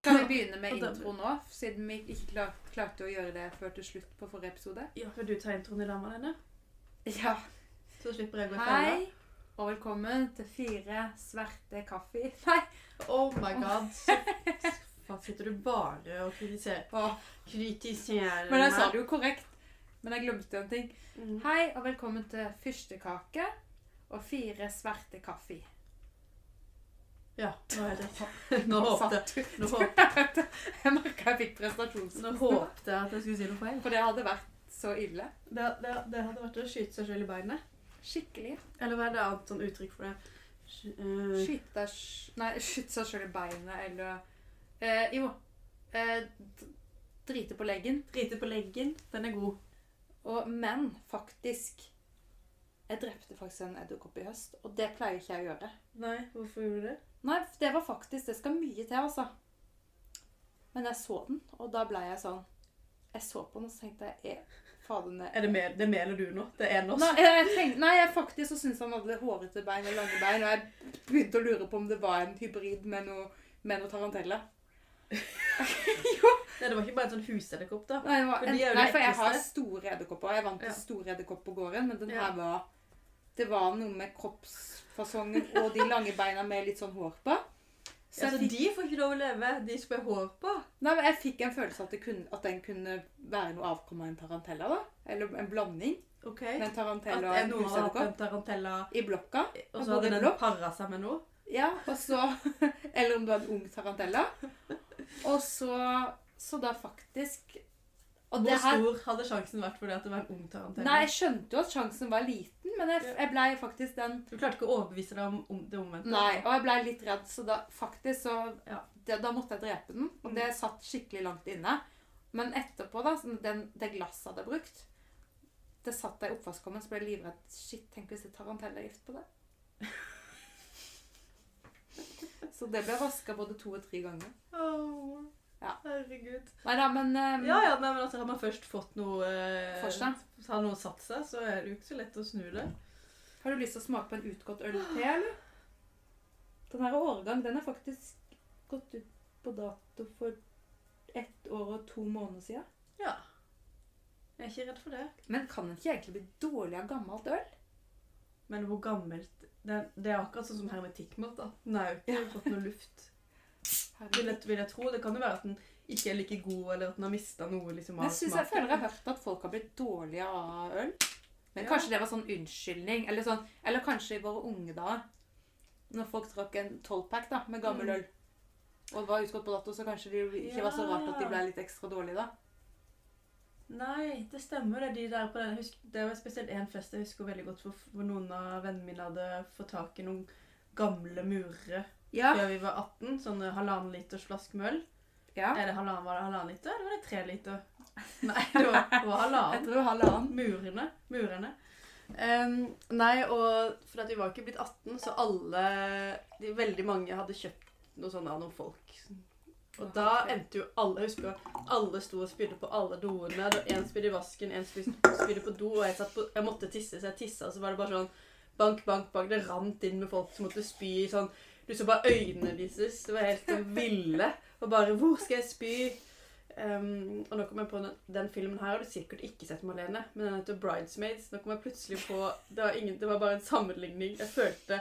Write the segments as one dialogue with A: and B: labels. A: Skal vi begynne med
B: Og da-
A: intro nå, siden vi ikke klar, klarte å gjøre det før til slutt på forrige episode?
B: Ja, vil du ta introen i dama dine?
A: Ja.
B: Så slipper jeg å gå i fella.
A: Hei, og velkommen til fire sverte kaffe. Nei,
B: Oh my god. Så faen, sitter du bare og kritiserer
A: å,
B: Kritiserer
A: men jeg sa det jo korrekt. Men jeg glemte en ting.
B: Mm.
A: Hei, og velkommen til fyrstekake og fire sverte kaffe.
B: Ja, nå er det Nå håpte
A: Satt du-
B: nå
A: Du
B: håpte-
A: vet, Jeg merket jeg fikk
B: nå
A: prestasjonsnivå.
B: håpte jeg at jeg skulle si noe feil.
A: For det hadde vært så ille.
B: Det, det, det hadde vært å skyte seg selv i beinet.
A: Skikkelig.
B: Eller hva er det annet sånn uttrykk for det? Sky- eh,
A: Skyte deg sj- Nei, skyte seg sjøl i beinet eller eh, Jo. Eh, d- drite på leggen.
B: Drite på leggen. Den er god.
A: Og, men faktisk Jeg drepte faktisk en edderkopp i høst, og det pleier ikke jeg å gjøre.
B: Nei, hvorfor gjorde du det?
A: Nei, det var faktisk Det skal mye til, altså. Men jeg så den, og da ble jeg sånn Jeg så på den, og så tenkte jeg eh, Fader, den er
B: Er det, mel, det meler du nå? Det er nå.
A: Nei, jeg, jeg tenkte, nei, jeg faktisk så syntes han hadde hårete bein og lange bein, og jeg begynte å lure på om det var en hybrid med noe, med noe tarantella.
B: Nei, det var ikke bare en sånn husedderkopp, da.
A: Nei, det var
B: For
A: en,
B: de er jo
A: nei,
B: de
A: for jeg har
B: ekleste.
A: store edderkopper. Jeg vant til
B: Ja.
A: store edderkopp på gården, men den
B: Ja.
A: her var Det var noe med kroppsfasongen og de lange beina med litt sånn hår på. Så
B: Ja, så
A: jeg fikk,
B: de får ikke lov å leve. De som er hår på.
A: nei, men jeg fikk en følelse at, det kunne, at den kunne være noe avkom av en tarantella. da. Eller en blanding
B: Ok.
A: med en
B: At
A: tarantella og
B: en
A: en
B: noen har hatt en
A: husedderkopp.
B: tarantella,
A: I blokka.
B: og så
A: bor i
B: hadde den
A: blokk.
B: para seg med noe.
A: Ja, og så Eller om du er en ung tarantella. Og så Så da faktisk Og
B: Hvor
A: det her
B: stor hadde sjansen vært for det at det var en ung tarantella?
A: Nei, jeg skjønte jo at sjansen var liten, men jeg, jeg blei faktisk den
B: Du klarte ikke å overbevise deg om, om det omvendte?
A: Nei, og jeg blei litt redd, så da faktisk så
B: Ja. Mm.
A: det, Da måtte jeg drepe den, og det satt skikkelig langt inne. Men etterpå, da, som den, det glasset jeg hadde brukt Det satt jeg i oppvaskkommen, så ble jeg livredd. Shit, tenk hvis det er tarantellagift på det. Så det ble vaska både to og tre ganger.
B: Åh,
A: Ja.
B: Herregud.
A: Nei da, men eh,
B: Ja, ja, nei, men altså, Har man først fått noe eh,
A: For seg.
B: Har noe satt seg, så er det jo ikke så lett å snu det.
A: Har du lyst til å smake på en utgått øl til, eller? Den her årgang, den er faktisk gått ut på dato for ett år og to måneder siden.
B: Ja. Jeg er ikke redd for det.
A: Men kan den ikke egentlig bli dårlig av gammelt øl?
B: Men hvor gammelt Det, det er akkurat sånn som hermetikkmat. da. Den har jo ikke fått noe luft. Vil jeg, vil jeg tro. Det kan jo være at den ikke er like god, eller at den har mista noe liksom,
A: Men
B: av
A: jeg synes jeg føler jeg har hørt at folk har blitt dårlige av øl. Men
B: Ja.
A: kanskje det var sånn unnskyldning, eller sånn, eller kanskje i våre unge dager, når folk drakk en 12-pack da, med gammel
B: Mm.
A: øl, og det var utgått på dato, så kanskje det ikke var så rart at de ble litt ekstra dårlige da.
B: Nei, det stemmer. Det er de der på den. jeg husker- Det var spesielt én fest jeg husker veldig godt, hvor, hvor noen av vennene mine hadde fått tak i noen gamle murere
A: Ja,
B: før vi var 18. Sånne halvannen liters flask med øl.
A: ja.
B: Er det halvannen, var det halvannen liter, eller var det tre liter? Nei, det var, det var halvannen.
A: Jeg tror halvannen.
B: Murene. Murene. Ehm, nei, og for at vi var ikke blitt 18, så alle de, Veldig mange hadde kjøpt noe sånt av noen folk. Og da endte jo alle jeg husker, alle sto og spydde på alle doene. Det var Én spydde i vasken, én spydde på do, og jeg, satt på, jeg måtte tisse, så jeg tissa, og så var det bare sånn bank, bank, bank. Det rant inn med folk som måtte spy i sånn Du så bare øynene deres. Det var helt sånn ville. Og bare Hvor skal jeg spy? Ehm, og nå kom jeg på den, den filmen her har du sikkert ikke sett Malene, men den heter 'Bridesmaids'. Nå kom jeg plutselig på Det var, ingen, det var bare en sammenligning. Jeg følte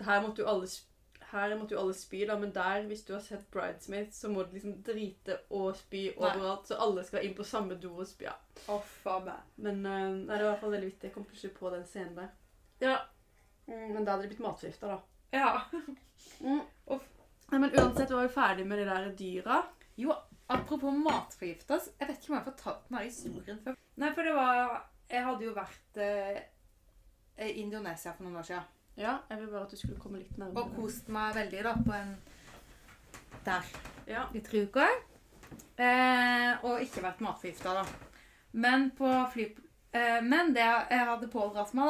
B: Her måtte jo alle, sp- her måtte jo alle spy, da, men der, hvis du har sett 'Bridesmaids', så må du liksom drite og spy overalt. Så alle skal inn på samme do og spy. Ja.
A: Å, faen meg.
B: Men eh, nei, det var i hvert fall veldig vittig. Jeg kom plutselig på den scenen der.
A: Ja.
B: Mm, men da hadde de blitt matforgifta, da.
A: Ja.
B: Uff. Mm. Nei, men uansett var vi ferdig med de der dyra.
A: Jo, apropos matforgifta. så Jeg vet ikke om jeg har fortalt denne historien før. Nei, for det var Jeg hadde jo vært eh, i Indonesia for noen år siden.
B: Ja, jeg vil bare at du skulle komme litt nærmere.
A: Og kost meg veldig da på en der
B: Ja.
A: i tre uker. Eh, og ikke vært matforgifta, da. Men på fly... Eh, men det jeg hadde pådratt meg,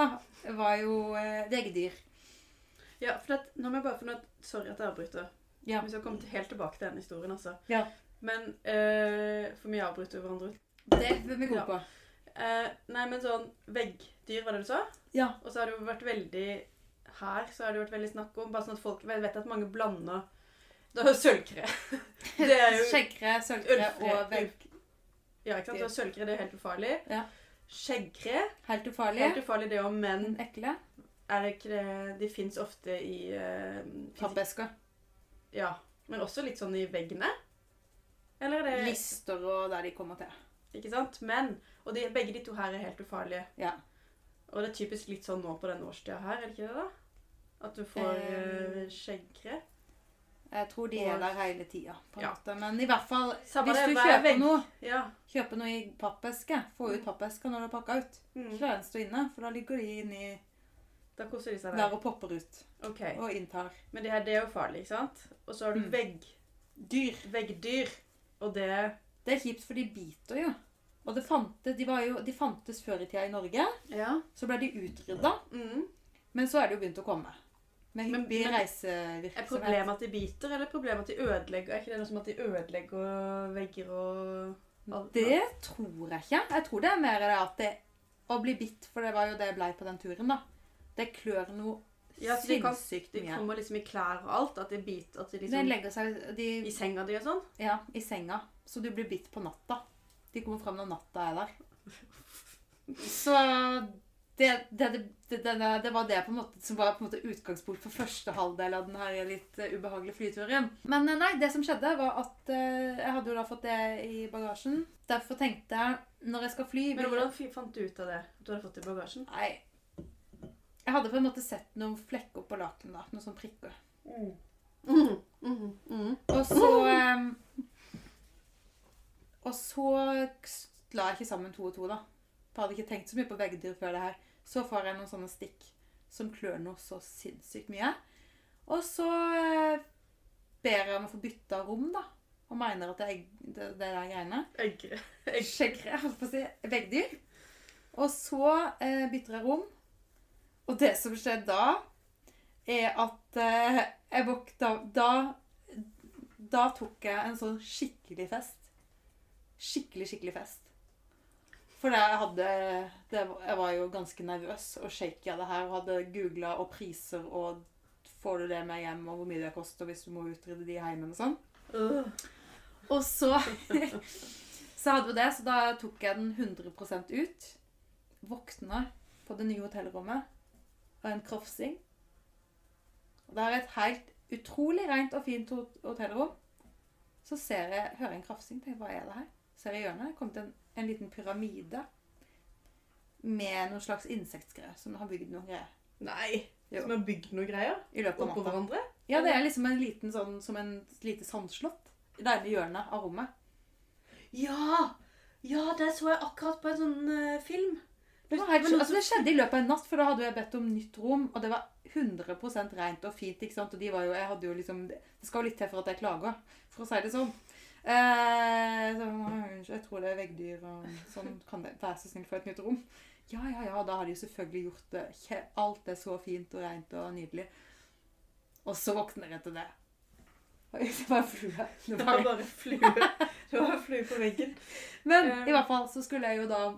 A: da, var jo eh, vegedyr.
B: Ja, for at, nå må jeg bare få noe Sorry at jeg avbryter.
A: Ja.
B: Vi skal komme til, helt tilbake til den historien, altså.
A: Ja.
B: Men eh, For vi avbryter hverandre.
A: Det er vi gode
B: Ja.
A: på.
B: Eh, nei, men sånn Veggdyr, var det du sa?
A: Ja.
B: Og så har det jo vært veldig Her så har det vært veldig snakk om Bare sånn at folk vet vet at mange blander Det er jo sølvkre. Det er jo
A: Skjeggkre, sølvkre
B: Ølfre-
A: og vegg.
B: Ja, ikke sant? Så sølvkre det er jo helt ufarlig.
A: Ja.
B: Skjeggkre
A: Helt ufarlige.
B: helt ufarlig det òg, men
A: Men ekle.
B: er det ikke det De fins ofte i eh,
A: Pappesker.
B: Ja. Men også litt sånn i veggene. Eller er det
A: Lister og der de kommer til.
B: Ikke sant? Men Og de, begge de to her er helt ufarlige.
A: Ja.
B: Og det er typisk litt sånn nå på denne årstida her, er det ikke det, da? At du får eh, skjeggkre.
A: Jeg tror de er
B: Og-
A: der hele tida. på en
B: Ja.
A: måte. Men i hvert fall,
B: Samme
A: hvis
B: det,
A: du
B: hver
A: kjøper
B: vegg.
A: noe
B: Ja.
A: kjøper noe i pappeske, få ut pappesker når du har pakka ut.
B: Mm.
A: Ikke la den stå inne, for da ligger de inni
B: Da koser de seg
A: der
B: der.
A: og popper ut.
B: Ok.
A: Og inntar
B: Men det her, det er jo farlig, ikke sant? Og så har du
A: Mm.
B: vegg,
A: dyr.
B: veggdyr. Og det
A: Det er kjipt, for de biter jo. Og det fante, de, var jo, de fantes før i tida i Norge.
B: Ja.
A: Så ble de utrydda.
B: Mm.
A: Men så er det jo begynt å komme. Med
B: Men-
A: hyppig
B: men- Er
A: reisevirksomhet.
B: problemet at de biter, eller er problemet at de ødelegger? Er ikke det noe som at de ødelegger vegger og alt?
A: Det tror jeg ikke. Jeg tror det er mer det at det å bli bitt, for det var jo det jeg blei på den turen, da. Det klør noe
B: Ja, så de kan-
A: sinnssykt
B: De
A: mye.
B: kommer liksom i klær og alt. At de biter at de
A: De
B: liksom
A: legger seg de,
B: I senga di og sånn.
A: ja, i senga, så du blir bitt på natta. De kommer fram når natta er der. Så det, det, det, det, det, det var det på en måte som var på en måte utgangspunkt for første halvdel av den her litt eh, ubehagelige flyturen. Men eh, nei, det som skjedde, var at eh, jeg hadde jo da fått det i bagasjen. Derfor tenkte jeg når jeg skal fly
B: Men
A: vil-
B: hvordan fi- fant du ut av det? At du hadde fått det i bagasjen?
A: Nei. Jeg hadde på en måte sett noen flekker på lakenet, da. Noen sånne prikker.
B: Mm. Mm. Mm.
A: Og så em, Og så s- la jeg ikke sammen to og to, da. For jeg hadde ikke tenkt så mye på veggdyr før det her. Så får jeg noen sånne stikk som klør noe så sinnssykt mye. Og så eh, ber jeg om å få bytta rom, da. Og mener at det er det, det der greiene.
B: Eggre.
A: Skjeggre, jeg holdt på å si. Veggdyr. Og så eh, bytter jeg rom. Og det som skjer da, er at eh, jeg våkna da, da tok jeg en sånn skikkelig fest. Skikkelig, skikkelig fest. For det jeg hadde det, var- Jeg var jo ganske nervøs og shaky av det her. Og hadde googla og priser og Får du det med hjem, og hvor mye det koster hvis du må utrydde de i heimen og sånn.
B: Øh.
A: Og så Så hadde vi det, så da tok jeg den 100 ut. Våkna på det nye hotellrommet av en krafsing. Og det er et helt utrolig rent og fint hot- hotellrom. Så ser jeg, hører jeg en krafsing. Tenker, hva er det her? Ser i hjørnet. Det kom til en, en liten pyramide med noe slags insektgreier som har bygd noe greier
B: Nei.
A: Jo.
B: Som har bygd noe greier
A: i løpet av
B: oppå
A: natta.
B: hverandre?
A: Ja, det er liksom en liten sånn som en lite sandslott i det ene hjørnet av rommet.
B: Ja! Ja, det så jeg akkurat på en sånn eh, film.
A: Det, var helt, altså det skjedde i løpet av en natt, for da hadde jeg bedt om nytt rom, og det var 100 rent og fint. ikke sant? Og de var jo, jeg hadde jo liksom, Det skal jo litt til for at jeg klager, for å si det sånn. Eh, så, «Unnskyld, jeg tror det er veggdyr og sånn. Kan det være så snill å få et nytt rom? Ja, ja, ja. Da har de jo selvfølgelig gjort det. kje- Alt er så fint og rent og nydelig. Og så våkner jeg til det. Oi, Det var en flue. Det
B: Det
A: var
B: var bare flue. Det var flue på veggen.
A: Men i hvert fall så skulle jeg jo da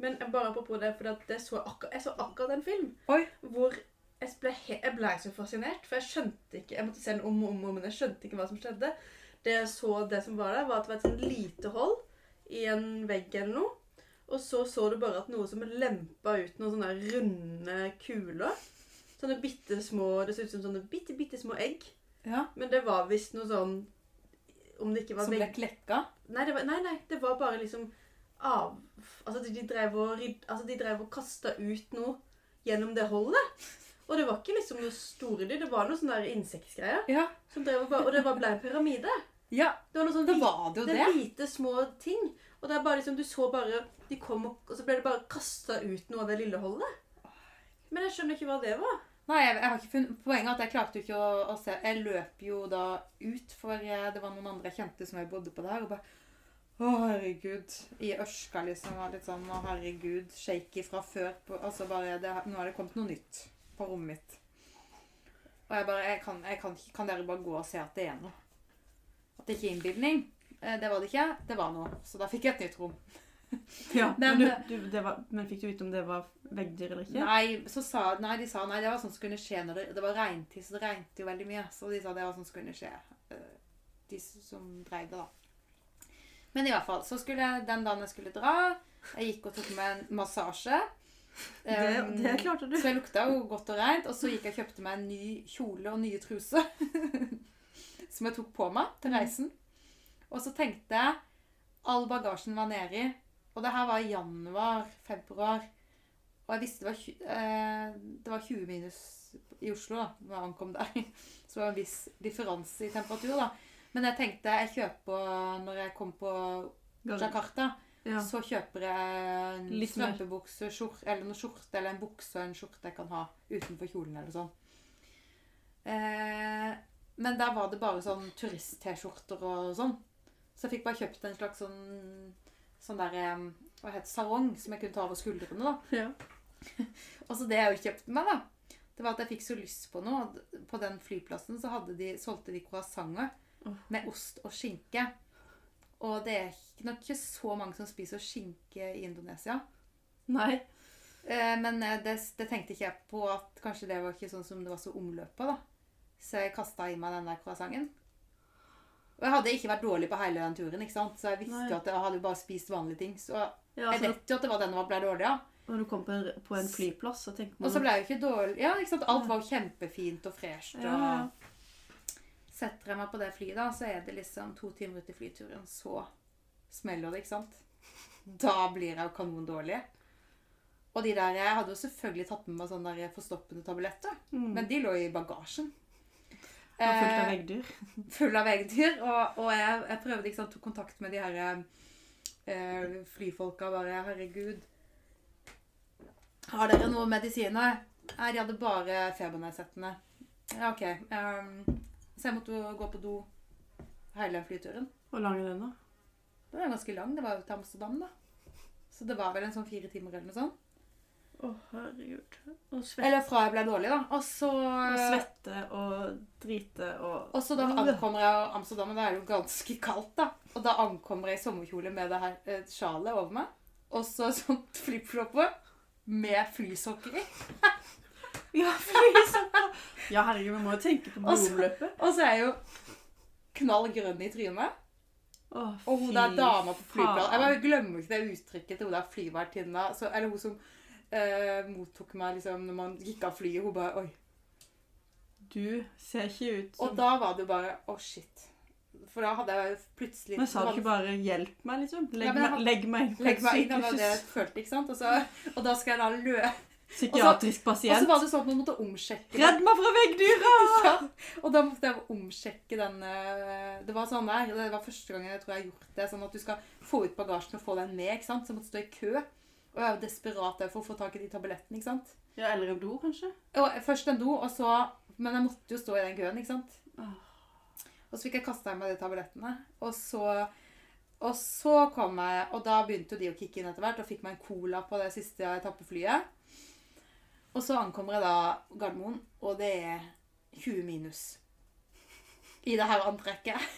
B: Men jeg bare apropos det, for det så akkurat, jeg så akkurat en film
A: Oi.
B: hvor jeg ble, he- jeg ble så fascinert, for jeg skjønte ikke Jeg måtte se den om og om, og om, men jeg skjønte ikke hva som skjedde. Det jeg så det som var der, var at det var et sånn lite hold i en vegg eller noe. Og så så du bare at noe som lempa ut noen sånne runde kuler. Sånne bitte små Det så ut som sånne bitte, bitte små egg.
A: ja,
B: Men det var visst noe sånn Om det ikke var
A: Som
B: vegg...
A: ble klekka.
B: Nei, det var, nei, nei, det var bare liksom av... Altså, de- de drev og, rydd, altså, de drev og kastet ut noe gjennom det holdet. Og det var ikke liksom noe store dyr, det var noe sånne der insektgreier.
A: Ja,
B: Som drev og bare... Og det var ble en pyramide.
A: ja
B: Det var noe sånn
A: da var det jo
B: det
A: det.
B: er hvite, små ting. Og det er bare liksom, du så bare De kom og, og så ble det bare kasta ut noe av det lille holdet. Men jeg skjønner ikke hva det var.
A: Nei, jeg, jeg har ikke funnet Poenget er at jeg klarte jo ikke å, å se Jeg løp jo da ut, for jeg, det var noen andre jeg kjente som jeg bodde på der, og bare Å, herregud. I ørska, liksom. Var litt sånn Å, herregud. Shaky fra før. På, altså bare det, Nå har det kommet noe nytt på rommet mitt. Og jeg bare jeg kan, jeg kan, ikke- kan dere bare gå og se at det er noe? At det ikke er innbilning? Eh, Det var det ikke. Det var noe. Så da fikk jeg et nytt rom.
B: Ja,
A: Den-
B: men, du, du, det var, men fikk du vite om det var veggdyr eller ikke?
A: Nei, så sa, nei, de sa nei, det var sånn som kunne skje når det, det var regntiss. Det regnet jo veldig mye. Så de sa det var sånn som kunne skje. eh, De s- som dreiv det, da. Men i hvert fall, så skulle jeg, den dagen jeg skulle dra Jeg gikk og tok meg en massasje.
B: Det,
A: Um,
B: det klarte du.
A: så jeg lukta jo godt og reint. Og så gikk jeg og kjøpte meg en ny kjole og nye truser. som jeg tok på meg til reisen. Og så tenkte jeg All bagasjen var nedi. Og det her var i januar-februar. Og jeg visste det var, tju- eh, det var 20 minus i Oslo da når jeg ankom der. Så det var en viss differanse i temperatur. da. Men jeg tenkte jeg kjøper Når jeg kom på Jakarta,
B: Ja.
A: så kjøper jeg en
B: Litt mer.
A: strømpebukse skjort, eller noen skjorte eller en bukse og en skjorte jeg kan ha utenfor kjolen eller sånn. Eh, men der var det bare sånn turist-T-skjorter og sånn. Så jeg fikk bare kjøpt en slags sånn, sånn der, eh, hva heter det, sarong som jeg kunne ta over skuldrene da.
B: Ja.
A: Og så det jeg jo kjøpte meg, da, det var at jeg fikk så lyst på noe. og På den flyplassen så hadde de, solgte de croissanter
B: Åh.
A: med ost og skinke. Og det er ikke- nok ikke så mange som spiser skinke i Indonesia.
B: Nei.
A: Eh, Men eh, det, det tenkte ikke jeg på at kanskje det var ikke sånn som det var så omløpet, da. Så jeg kasta i meg den der croissanten. Og jeg hadde ikke vært dårlig på hele den turen, ikke sant? så jeg visste
B: Nei.
A: jo at jeg hadde jo bare spist vanlige ting. Så
B: Ja,
A: jeg
B: altså,
A: vet jo at det var den jeg ble dårlig av.
B: når du kom på en, på en flyplass, så tenker man
A: Og så ble jeg jo ikke dårlig Ja, ikke sant? Alt var jo kjempefint og fresht.
B: Ja, ja.
A: Og setter jeg meg på det flyet, da, så er det liksom to timer ut i flyturen, så smeller det, ikke sant? Da blir jeg jo kanondårlig. Og de der Jeg hadde jo selvfølgelig tatt med meg sånne der forstoppende tabletter,
B: Mm.
A: men de lå i bagasjen.
B: Jeg var fullt av
A: Eh,
B: veggdyr.
A: full av veggdyr. Og, og jeg, jeg prøvde ikke sant, tok kontakt med de her eh, flyfolka. Bare Herregud. Har dere noe medisiner? Nei, de hadde bare febernedsettende. Ja, OK. ehm, så jeg måtte jo gå på do hele flyturen.
B: Hvor lang er den, da?
A: Den var ganske lang. Det var jo til Amsterdam, da. Så det var vel en sånn fire timer eller noe sånt.
B: Å, herregud. Og svette
A: Eller fra jeg ble dårlig, da. Og så
B: og, svette, og drite og
A: Og så da ankommer jeg og Amsterdam, og da er det jo ganske kaldt, da. Og da ankommer jeg i sommerkjole med det her eh, sjalet over meg. Og så sånt flipflopper med flysokker i.
B: Ja, flysopper! Ja, herregud, vi må jo tenke på
A: Og så-
B: blodomløpet.
A: Og så er jeg jo knall grønn i trynet.
B: Å,
A: Og hun der
B: fy
A: dama på flyplassen Jeg
B: faen.
A: bare glemmer ikke det uttrykket til hun der flyvertinna så- Eller hun som eh, mottok meg liksom når man gikk av flyet. Hun bare Oi.
B: Du ser ikke ut
A: Og
B: som
A: da var det jo bare Å, shit. For da hadde jeg jo plutselig
B: Men sa du ikke bare 'hjelp meg', liksom? Legg,
A: Ja, men jeg har-
B: meg, legg meg inn på
A: Legg
B: et
A: meg inn, det var det jeg
B: sykehus.
A: følte, ikke sant? Og, så, og da skal jeg da lø... Og
B: Psykiatrisk
A: så
B: pasient.
A: var det sånn at man måtte omsjekke
B: Redd meg fra veggdyra!
A: Ja, Og da måtte jeg omsjekke den eh, Det var sånn der, det var første gang jeg tror jeg har gjort det. Sånn at du skal få ut bagasjen og få den med. ikke sant? Så jeg måtte stå i kø. Og jeg var desperat der for å få tak i de tablettene. ikke sant?
B: Ja, eller en do, kanskje?
A: Og først en do, og så Men jeg måtte jo stå i den køen, ikke sant?
B: Åh.
A: Og så fikk jeg kasta i meg de tablettene. Og så og så kom jeg, og da begynte jo de å kicke inn etter hvert, og fikk meg en cola på det siste etappeflyet. Og så ankommer jeg da Gardermoen, og det er 20 minus i det her antrekket.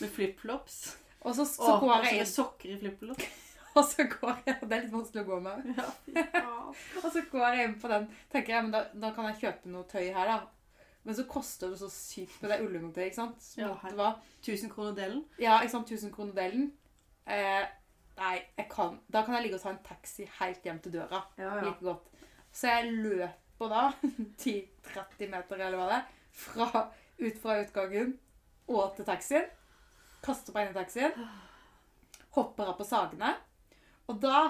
B: Med flipflops.
A: Og så, så
B: Åh,
A: går jeg
B: med
A: inn,
B: sokker i flipflops.
A: og så går jeg, og det er litt vanskelig å gå med.
B: Ja, fy faen.
A: Og så går jeg inn på den. tenker jeg, men da, da kan jeg kjøpe noe tøy her, da. Men så koster det så sykt med det ullundertøyet, ikke sant? Som
B: Ja,
A: at det var,
B: 1000 kroner delen.
A: ja, ikke sant, 1000 kroner delen. Eh, nei, jeg kan, da kan jeg ligge og ta en taxi helt hjem til døra.
B: Ja,
A: Like godt. Så jeg løper da 10-30 meter eller hva det er, fra, ut fra utgangen og til taxien. Kaster meg inn i taxien. Hopper av på sagene. Og da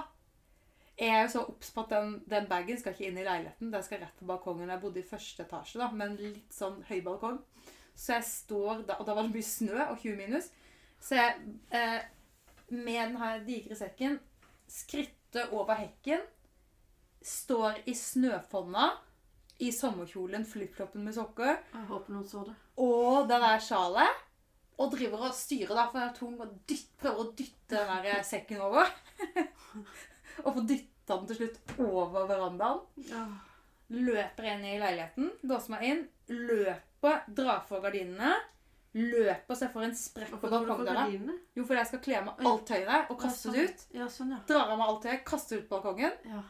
A: er jeg jo så obs på at den, den bagen skal ikke inn i leiligheten. Den skal rett på balkongen. Jeg bodde i første etasje, da, men litt sånn høy balkong. Så jeg står da, og da var det mye snø og 20 minus. Så jeg eh, med den her digre sekken skritter over hekken står i snøfonna, i sommerkjolen, flipfloppen med sokker
B: Jeg håper noen så det.
A: og det der sjalet. og driver og styrer da, for den er tung, og dytt, prøver å dytte den der eh, sekken over. og får dytta den til slutt over verandaen. Løper inn i leiligheten, låser meg inn, løper, drar for gardinene. Løper så jeg får en sprekk på
C: Hvorfor går du for
A: balkongdøra.
C: gardinene?
A: Jo, fordi jeg skal kle av meg alt høyere og kaste det ut.
B: Ja, sånn, ja.
A: Drar av meg alt høyere, kaster det ut på balkongen.
B: ja.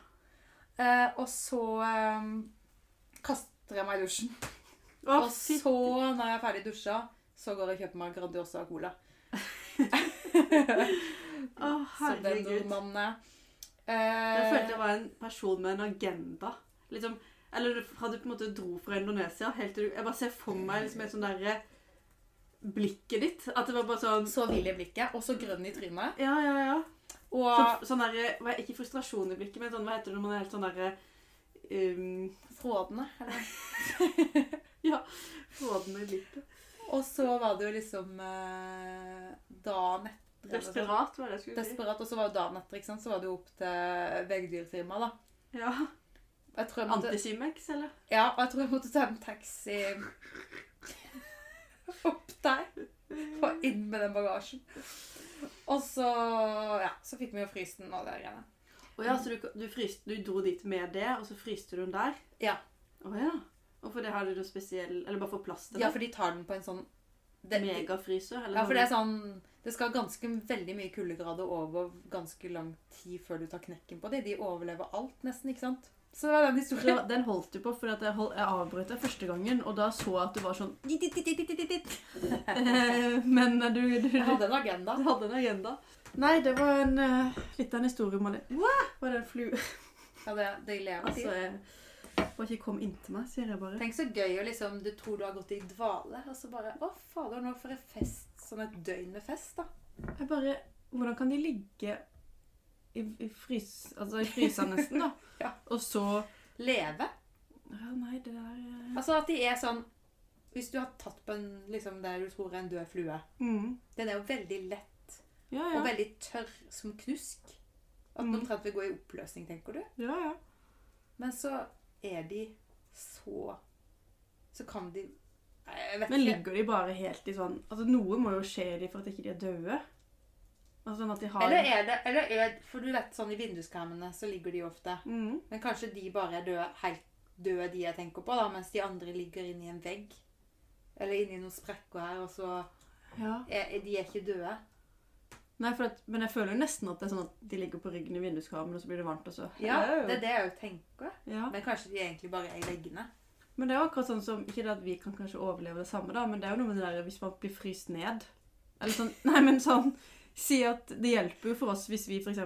A: Eh, og så eh, kaster jeg meg i dusjen.
B: Å,
A: og
B: fy-
A: så, når jeg er ferdig dusja, så går jeg og kjøper meg Grandiosa og cola.
B: å,
A: Som den
B: herregud.
A: nordmannen er.
B: Jeg følte
A: Eh,
B: jeg var en person med en agenda. Liksom, eller fra du på en måte dro fra Indonesia helt til du Jeg bare ser for meg liksom et sånn derre Blikket ditt. At det var bare sånn
A: så vill i blikket, og så grønn i trynet.
B: Ja, ja, ja.
A: Og
B: Sånn, sånn derre hva- Ikke frustrasjon i blikket, men sånn, hva heter det når man er helt sånn derre um,
A: frådende. Eller.
B: Frådende i blikket.
A: Og så var det jo liksom eh, dagen etter eller sånn.
B: Desperat, var det jeg skulle si.
A: Desperat. Og så var det dagen etter, ikke sant? så var det jo opp til veggdyrfirmaet, da.
B: Ja.
A: Jeg tror jeg måtte,
B: Antisimex, eller?
A: ja, og jeg tror jeg måtte ta en taxi opp der. Og inn med den bagasjen. Og så ja, så fikk vi jo fryst den og det greiene.
B: Å ja, så du, du, fryste, du dro dit med det, og så fryste du den der?
A: Ja.
B: Å ja. Og for det har du noe spesiell Eller bare for plass til
A: Ja,
B: det?
A: for de tar den på en sånn det, det,
B: Megafryser? eller
A: Ja, for det er
B: sånn-
A: sånn Det skal ganske veldig mye kuldegrader over ganske lang tid før du tar knekken på dem. De overlever alt, nesten, ikke sant? Så det var den
B: sånn Det
A: historien.
B: var- Den holdt du på, for at jeg, hold, jeg avbrøt deg første gangen, og da så jeg at du var sånn dit, dit, dit, dit, dit, dit, dit. Eh, Men du,
A: Jeg
B: du, du
A: hadde en agenda.
B: hadde en agenda. Nei, det var en, eh, litt av en historie om Malin. Hva? Var det en flue?
A: Ja, det, det lever
B: Altså,
A: til.
B: jeg bare ikke kom inntil meg, sier jeg bare.
A: Tenk så gøy å liksom Du tror du har gått i dvale, og så bare Å, fader, nå for en fest. Sånn et døgn med fest, da.
B: Jeg bare, hvordan kan de ligge i, i frys... Altså i frysa nesten, da?
A: Ja.
B: Og så
A: Leve.
B: Ja, nei, det der eh,
A: Altså at de er sånn Hvis du har tatt på en liksom der du tror er en død flue
B: mm.
A: Den er jo veldig lett
B: Ja,
A: og
B: ja.
A: veldig tørr som knusk. At den
B: Mm.
A: omtrent vil gå i oppløsning, tenker du.
B: ja, ja.
A: Men så er de så Så kan de Nei, Jeg vet
B: Men
A: ikke.
B: ligger de bare helt i sånn Altså Noe må jo skje i de for at ikke de er døde. Altså sånn at de har
A: Eller er det eller er, For du vet, sånn i vinduskarmene så ligger de ofte.
B: Mhm.
A: Men kanskje de bare er døde, helt døde, de jeg tenker på, da, mens de andre ligger inni en vegg. Eller inni noen sprekker her, og så
B: ja.
A: er, er De er ikke døde.
B: Nei, for at, Men jeg føler jo nesten at det er sånn at de ligger på ryggen i vinduskarmen, og så blir det varmt, og så
A: Ja,
B: Hello.
A: Det er det jeg jo tenker.
B: ja.
A: Men kanskje de egentlig bare er i veggene.
B: Men det er jo akkurat sånn som Ikke det at vi kan kanskje overleve det samme, da, men det er jo noe med det der hvis man blir fryst ned. Eller sånn Nei, men sånn Si at det hjelper jo for oss hvis vi f.eks.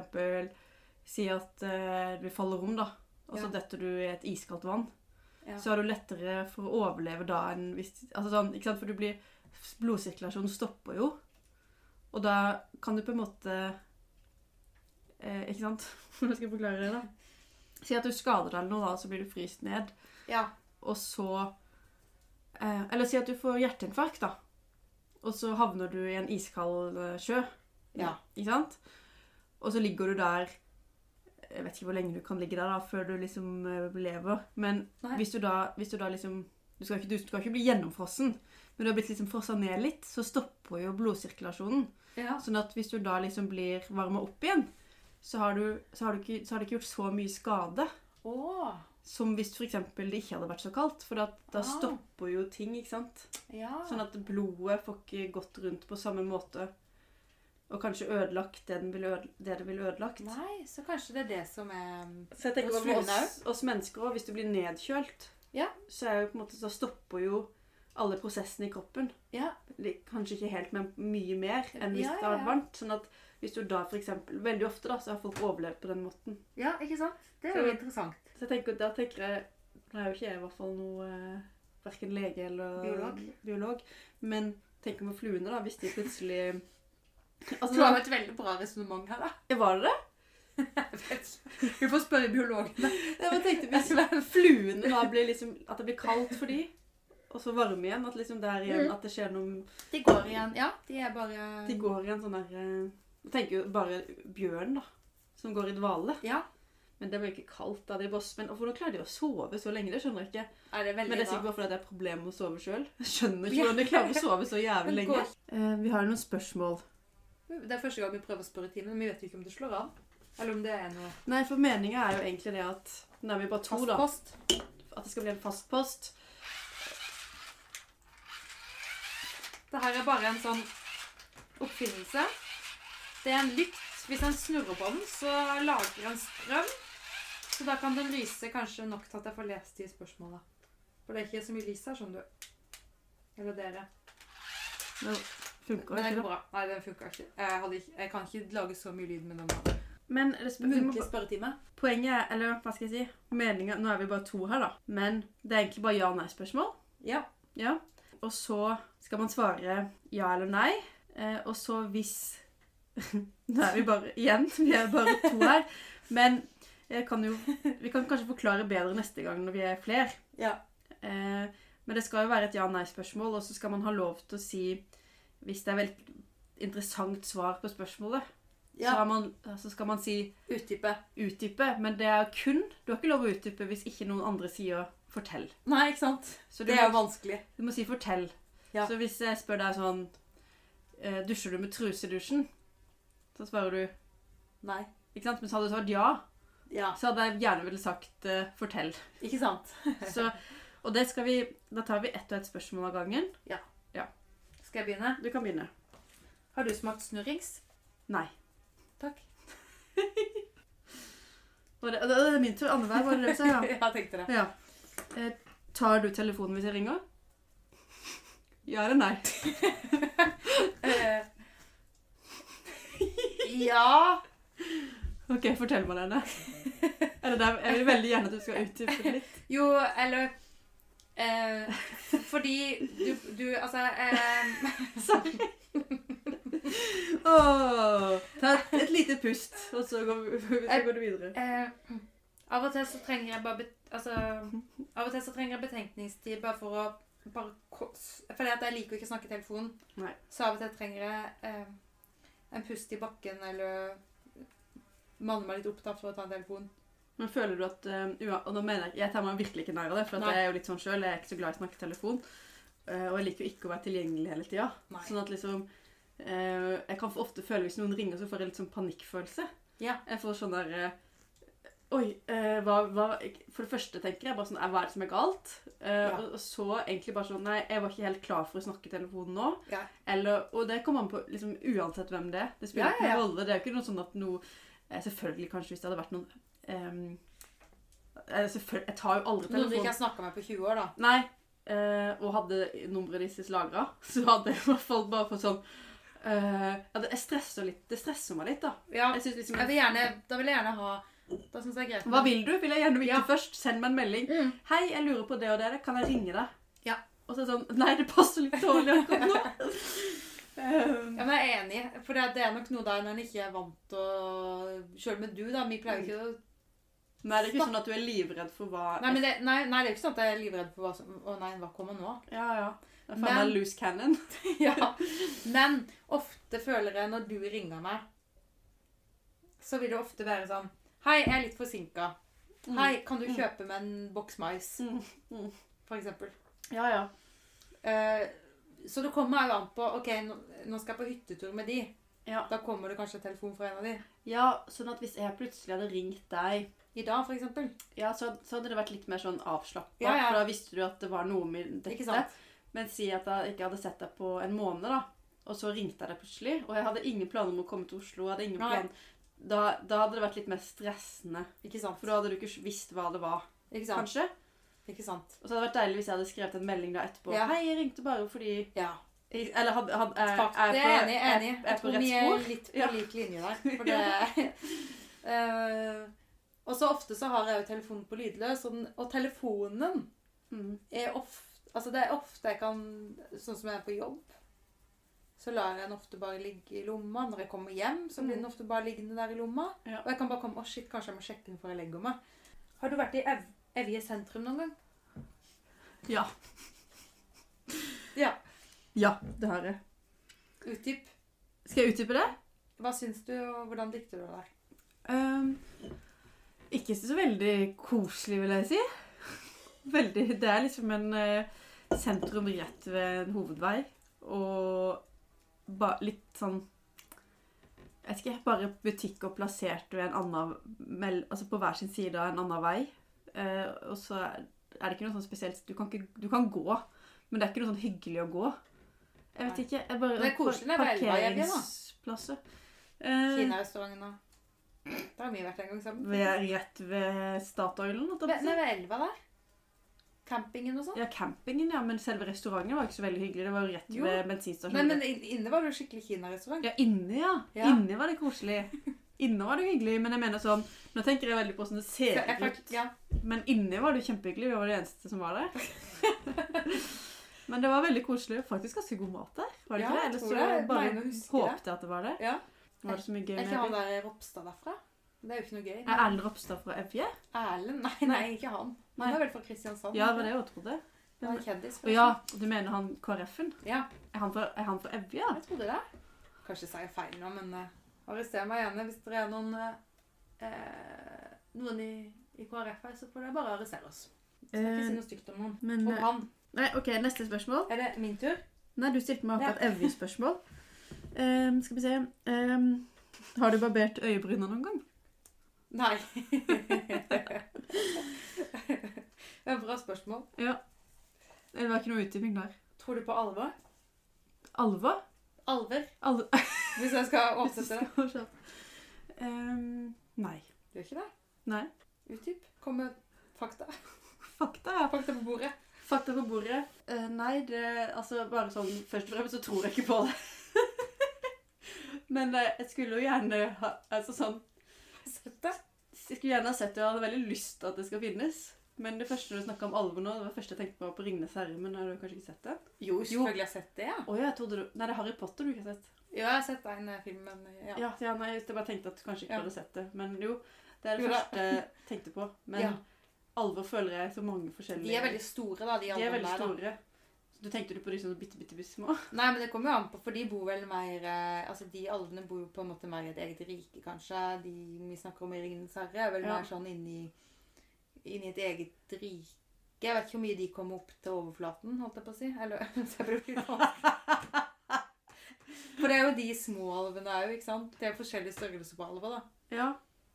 B: sier at eh, vi faller om, da. Og så
A: Ja.
B: detter du i et iskaldt vann.
A: Ja.
B: Så er du lettere for å overleve da enn hvis Altså sånn, ikke sant, for du blir Blodsirkulasjonen stopper jo. Og da kan du på en måte eh, Ikke sant? Hvordan skal jeg forklare det, da? Si at du skader deg eller noe, da, så blir du fryst ned
A: Ja.
B: og så eh, Eller si at du får hjerteinfarkt, da. Og så havner du i en iskald eh, sjø.
A: Ja.
B: Ikke sant? Og så ligger du der Jeg vet ikke hvor lenge du kan ligge der da, før du liksom eh, lever. Men
A: Nei.
B: hvis du, da, hvis du da liksom du skal, ikke, du skal ikke bli gjennomfrossen, men du har blitt liksom frossa ned litt, så stopper jo blodsirkulasjonen.
A: ja.
B: Sånn at hvis du da liksom blir varma opp igjen, så har, du, så, har du ikke, så har du ikke gjort så mye skade.
A: Åh,
B: Som hvis for eksempel det ikke hadde vært så kaldt, for da, da
A: Ah.
B: stopper jo ting, ikke sant?
A: ja.
B: Sånn at blodet får ikke gått rundt på samme måte, og kanskje ødelagt det, den ville øde, det det ville ødelagt.
A: Nei, så kanskje det er det som er um,
B: Så jeg tenker
A: Hos
B: bare med
A: fuglene
B: oss, oss mennesker også, hvis du blir nedkjølt,
A: Ja.
B: så er jo på en måte, så stopper jo alle prosessene i kroppen.
A: Ja.
B: Det- Kanskje ikke helt, men mye mer enn hvis
A: Ja, ja,
B: det hadde
A: ja.
B: vært varmt. Sånn at hvis du da for eksempel, veldig ofte da, så har folk overlevd på den måten.
A: Ja, ikke sant? Det
B: Så-
A: interessant.
B: Så jeg tenker, da tenker jeg Nå er jo ikke jeg i hvert fall noe eh, Hverken lege eller
A: Biolog.
B: biolog, men tenk om fluene, da, hvis de plutselig
A: Du
B: Altså,
A: har et veldig bra resonnement her, da.
B: da, Var det det?
A: Vi får spørre biologene.
B: Jeg bare tenkte hvis fluene da blir liksom At det blir kaldt for de, og så varme igjen. At liksom der igjen
A: Mm.
B: at det skjer noe
A: De går igjen. Ja, de er bare
B: De går i en sånn der eh, Jeg tenker jo bare bjørn, da. Som går i dvale.
A: Ja.
B: Men det var jo ikke kaldt da. det er bare, men Hvordan klarer de å sove så lenge? Det skjønner jeg ikke.
A: Er det
B: Men det
A: veldig
B: er
A: bra?
B: sikkert bare fordi det er problemer med å sove sjøl. Skjønner ikke hvordan de klarer å sove så
A: Men
B: jævlig lenge.
A: går-
B: Eh, vi har jo noen spørsmål.
A: Det er første gang vi prøver å spørre i timen. men Vi vet jo ikke om det slår an. Eller om det er noe
B: Nei, for meninga er jo egentlig det at Nå er vi bare to,
A: fast
B: da.
A: post.
B: At det skal bli en fast post.
A: Det her er bare en sånn oppfinnelse. Det er en lykt. Hvis en snurrer på den, så lager den strøm. Så da kan den lyse kanskje nok til at jeg får lest de spørsmåla. For det er ikke så mye lys her, skjønner du. Eller dere.
B: Nå funker
A: Men
B: det
A: det
B: ikke,
A: går bra. Nei, den funka ikke. Jeg, hadde ikke. jeg kan ikke lage så mye lyd med den.
B: da. Men det spør, vi må,
A: Muntlig spørretime.
B: poenget er Eller hva skal jeg si? Meninga Nå er vi bare to her, da. Men det er egentlig bare ja- og nei-spørsmål.
A: Ja.
B: Ja. Og så skal man svare ja eller nei. Eh, og så hvis Nå er vi bare igjen, vi er bare to her. Men jeg kan jo, vi kan kanskje forklare bedre neste gang når vi er flere.
A: Ja.
B: Eh, men det skal jo være et ja-nei-spørsmål, og så skal man ha lov til å si hvis det er veldig interessant svar på spørsmålet. Så,
A: ja.
B: har man, så skal man si
A: Utdype.
B: utdype, men det er kun Du har ikke lov å utdype hvis ikke noen andre sier 'fortell'.
A: Nei, ikke sant?
B: Så du,
A: Det er jo
B: må,
A: vanskelig.
B: du må si 'fortell'.
A: Ja.
B: Så hvis jeg spør deg sånn eh, 'Dusjer du med truse i dusjen?' Så svarer du
A: Nei.
B: Ikke sant? Men så hadde du svart ja,
A: Ja.
B: så hadde jeg gjerne ville sagt eh, 'fortell'.
A: Ikke sant?
B: Så, og det skal vi Da tar vi ett og ett spørsmål av gangen.
A: Skal jeg begynne?
B: Du kan begynne.
A: Har du smakt snurrings?
B: Nei.
A: Takk.
B: Var det, det, det er min tur. Annenhver, var det det du sa? Ja.
A: jeg tenkte det.
B: ja. Eh, tar du telefonen hvis jeg ringer? Ja eller nei?
A: Eh, ja.
B: Ok, fortell meg denne. Eller det, er- jeg vil veldig gjerne at du skal utdype det litt.
A: Jo, eller eh, Fordi du, du Altså eh,
B: Sorry. Åh, ta et, et lite pust, og så går, vi- så går du videre.
A: eh, Av og til så trenger jeg bare bet, Altså Av og til så trenger jeg betenkningstid bare for å bare, ko- s- Fordi at jeg liker jo ikke å snakke i telefonen.
B: Nei.
A: Så av og til trenger jeg eh, en pust i bakken eller manne meg litt opp da for å ta en telefon.
B: Men føler du at eh, ua- Og nå mener jeg ikke- Jeg tar meg virkelig ikke nær av det, for at
A: Nei.
B: jeg er jo litt sånn sjøl. Jeg er ikke så glad i å snakke i telefon. eh, Og jeg liker jo ikke å være tilgjengelig hele tida.
A: Nei.
B: Sånn at liksom eh, Jeg kan ofte føle hvis noen ringer, så får jeg litt sånn panikkfølelse.
A: Ja.
B: Jeg får sånn der eh, Oi, eh, hva, hva For det første tenker jeg bare sånn eh, Hva er det som er galt? Eh,
A: Ja.
B: og, og så egentlig bare sånn Nei, jeg var ikke helt klar for å snakke i telefonen nå.
A: Ja.
B: Eller, og det kommer an på liksom, uansett hvem det er. Det spiller
A: Ja,
B: ikke
A: ja, ja.
B: noen rolle. Det er jo ikke noe sånn at noe eh, Selvfølgelig kanskje hvis det hadde vært noen ehm, eh, Selvfølgelig Jeg tar jo
A: Noen
B: aldri
A: du ikke
B: telefonen.
A: har snakka med på 20 år, da.
B: Nei. eh, og hadde nummeret deres lagra, så hadde jeg i hvert fall bare fått sånn eh, ja, det, jeg stresser litt, det stresser meg litt, da.
A: Ja,
B: Jeg synes liksom,
A: jeg vil gjerne, da vil jeg gjerne ha Da syns jeg er greit.
B: Hva vil du? Vil jeg gjerne vite
A: Ja.
B: først. Send meg en melding.
A: Mm.
B: Hei, jeg lurer på det og det. Kan jeg ringe deg?
A: Ja.
B: Og så er det sånn Nei, det passer litt dårlig akkurat nå. um,
A: Ja, men jeg er enig, for det det er nok noe der når en ikke er vant til å Sjøl med du, da. Vi pleier jo
B: Mm.
A: ikke å
B: nei, det er ikke sånn at du er livredd for hva
A: Nei, men det, nei, nei, det er jo ikke sånn at jeg er livredd for hva som Å nei, hva kommer nå?
B: Ja, ja. Det er faen
A: Men-
B: meg loose cannon.
A: ja. Men ofte føler jeg når du ringer meg, så vil det ofte være sånn Hei, jeg er litt forsinka. Hei, kan du
B: Mm.
A: kjøpe meg en boks mais?
B: Mm. Mm.
A: For eksempel.
B: Ja, ja.
A: Eh, så det kommer jo an på OK, nå nå skal jeg på hyttetur med de.
B: Ja.
A: Da kommer det kanskje en telefon fra en av de.
B: Ja, sånn at hvis jeg plutselig hadde ringt deg
A: I dag, for eksempel.
B: ja, så, så hadde det vært litt mer sånn avslappa.
A: Ja, ja.
B: For da visste du at det var noe med dette.
A: Ikke sant?
B: Men si at jeg ikke hadde sett deg på en måned, da. Og så ringte jeg deg plutselig. Og jeg hadde ingen planer om å komme til Oslo. jeg Hadde ingen
A: Nei.
B: plan. Da, da hadde det vært litt mer stressende.
A: Ikke sant?
B: For da hadde du ikke visst hva det var,
A: Ikke sant?
B: kanskje.
A: Ikke sant?
B: Og så hadde det vært deilig hvis jeg hadde skrevet en melding da etterpå.
A: Ja.
B: Hei, jeg ringte bare fordi
A: Ja.
B: Eller had, had, Eh, er,
A: Fakt,
B: er
A: det
B: på-
A: er enig.
B: er-
A: enig.
B: Er
A: Jeg
B: på
A: tror
B: rett
A: vi er
B: spor.
A: litt på
B: Ja.
A: lik linje der. For det Eh, Og så ofte så har jeg jo telefonen på lydløs, og, den, og telefonen
B: Mm.
A: er ofte Altså det er ofte jeg kan Sånn som jeg er på jobb, så lar jeg den ofte bare ligge i lomma. Når jeg kommer hjem, så blir den ofte bare liggende der i lomma.
B: Ja.
A: Og jeg kan bare komme Å, shit, kanskje jeg må sjekke den før jeg legger meg. Har du vært i Ev Evje sentrum noen gang?
B: Ja.
A: Ja.
B: Ja, det har jeg.
A: Utdyp.
B: Skal jeg utdype det?
A: Hva syns du, og hvordan likte du det der?
B: Ehm, Ikke så veldig koselig, vil jeg si. Veldig, det er liksom en eh, sentrum rett ved en hovedvei. Og ba, litt sånn Jeg vet ikke, bare butikker plassert ved en annen, mell- altså på hver sin side av en annen vei. Eh, og så er er det ikke noe sånn spesielt Du kan, ikke, du kan gå, men det er ikke noe sånn hyggelig å gå. Jeg vet
C: Nei.
B: ikke. Jeg bare,
A: Det er koselig, det er velvære, da.
B: Parkeringsplasser. Eh,
A: Kinarestauranten og Det har vi vært en gang sammen.
B: ved, rett ved Statoilen. holdt jeg på å
A: Ved-
B: si.
A: Nei, ved elva der. Campingen og sånn.
B: Ja, campingen, ja. Men selve restauranten var ikke så veldig hyggelig. Det var jo rett
A: Jo.
B: ved
A: Nei,
B: bensinstasjonen.
A: men in- inne var det jo skikkelig kinarestaurant.
B: Ja, inne, ja.
A: Ja.
B: Inne var det koselig. Inne var det hyggelig, men jeg mener sånn Nå tenker jeg veldig på hvordan det
A: Så
B: ser
A: jeg
B: ut.
A: fikk- Ja.
B: Men inni var det jo kjempehyggelig. Vi var de eneste som var der. Men det var veldig koselig. Faktisk ganske god mat der. Var det
A: Ja,
B: ikke det?
A: jeg
B: Ellers
A: tror
B: så
A: det. Jeg
B: bare
A: mener å huske
B: håpte jeg at det var det.
A: Ja.
B: Var det så mye gøy
A: Er
B: med
A: ikke han der
B: Evje?
A: Ropstad derfra? Det er jo ikke noe gøy.
B: Er Erlend Ropstad fra Evje?
A: Erlend? Nei, nei, ikke han. Han
B: Nei.
A: er vel fra Kristiansand?
B: Ja, det var det jeg også trodde.
A: Han er kjendis.
B: Og ja, du mener han KrF-en?
A: Ja.
B: Er han fra, er han fra Evje? ja?
A: Jeg trodde det. Kanskje sier jeg feil nå, men eh, arrester meg gjerne hvis det er noen eh, eh, noen i, i KrF her, så får dere bare arrestere oss. Så jeg ikke si noe stygt om noen.
B: Eh, Men eh,
A: Om han.
B: Nei, OK, neste spørsmål.
A: Er det min tur?
B: Nei, du stilte meg akkurat Evje-spørsmål. Ehm, skal vi se Ehm, Har du barbert øyebryna noen gang?
A: Nei. det er et bra spørsmål.
B: Det var ikke noe utdyping der.
A: Tror du på alvor?
B: Alva?
A: Alver,
B: Alva.
A: hvis jeg skal oversette det.
B: Ehm, nei.
A: Du gjør ikke det?
B: Nei.
A: Utdyp. Kom med fakta.
B: Fakta, ja.
A: Fakta på bordet.
B: Fakta på bordet. Eh, nei, det Altså, bare sånn Først og fremst så tror jeg ikke på det. Men eh, jeg skulle jo gjerne ha Altså sånn
A: Sett det.
B: Jeg skulle gjerne ha sett det, og jeg hadde veldig lyst til at det skal finnes. Men det første du snakka om alvor nå, det var det første jeg tenkte på var på 'Ringenes herre'. Men har du kanskje ikke sett det?
A: Jo, selvfølgelig har jeg sett det, ja.
B: Å ja, jeg trodde du Nei, det er Harry Potter du ikke har sett.
A: Jo, jeg har sett en eh, film, men eh, ja.
B: Ja, ja nei, jeg bare tenkte at du kanskje ikke
A: Ja.
B: hadde sett det. Men jo, det er det
A: Jo da.
B: første jeg tenkte på. Men
A: Ja.
B: alvor føler jeg så mange forskjellige
A: De er veldig store, da. De,
B: De er
A: alvene
B: veldig
A: der, da.
B: store. Så du tenkte du på de som bitte, bitte, bitte små?
A: Nei, men det kommer jo an på, for de bor vel mer eh, Altså, de alvene bor jo på en måte mer i et eget rike, kanskje. De vi snakker om i 'Ringenes herre', er vel
B: Ja.
A: mer sånn inni, inni et eget rike. Jeg vet ikke hvor mye de kommer opp til overflaten, holdt jeg på å si. Eller så jeg blir litt vanskelig. For det er jo de små alvene òg, ikke sant? Det er jo forskjellig størrelse på alver, da.
B: Ja.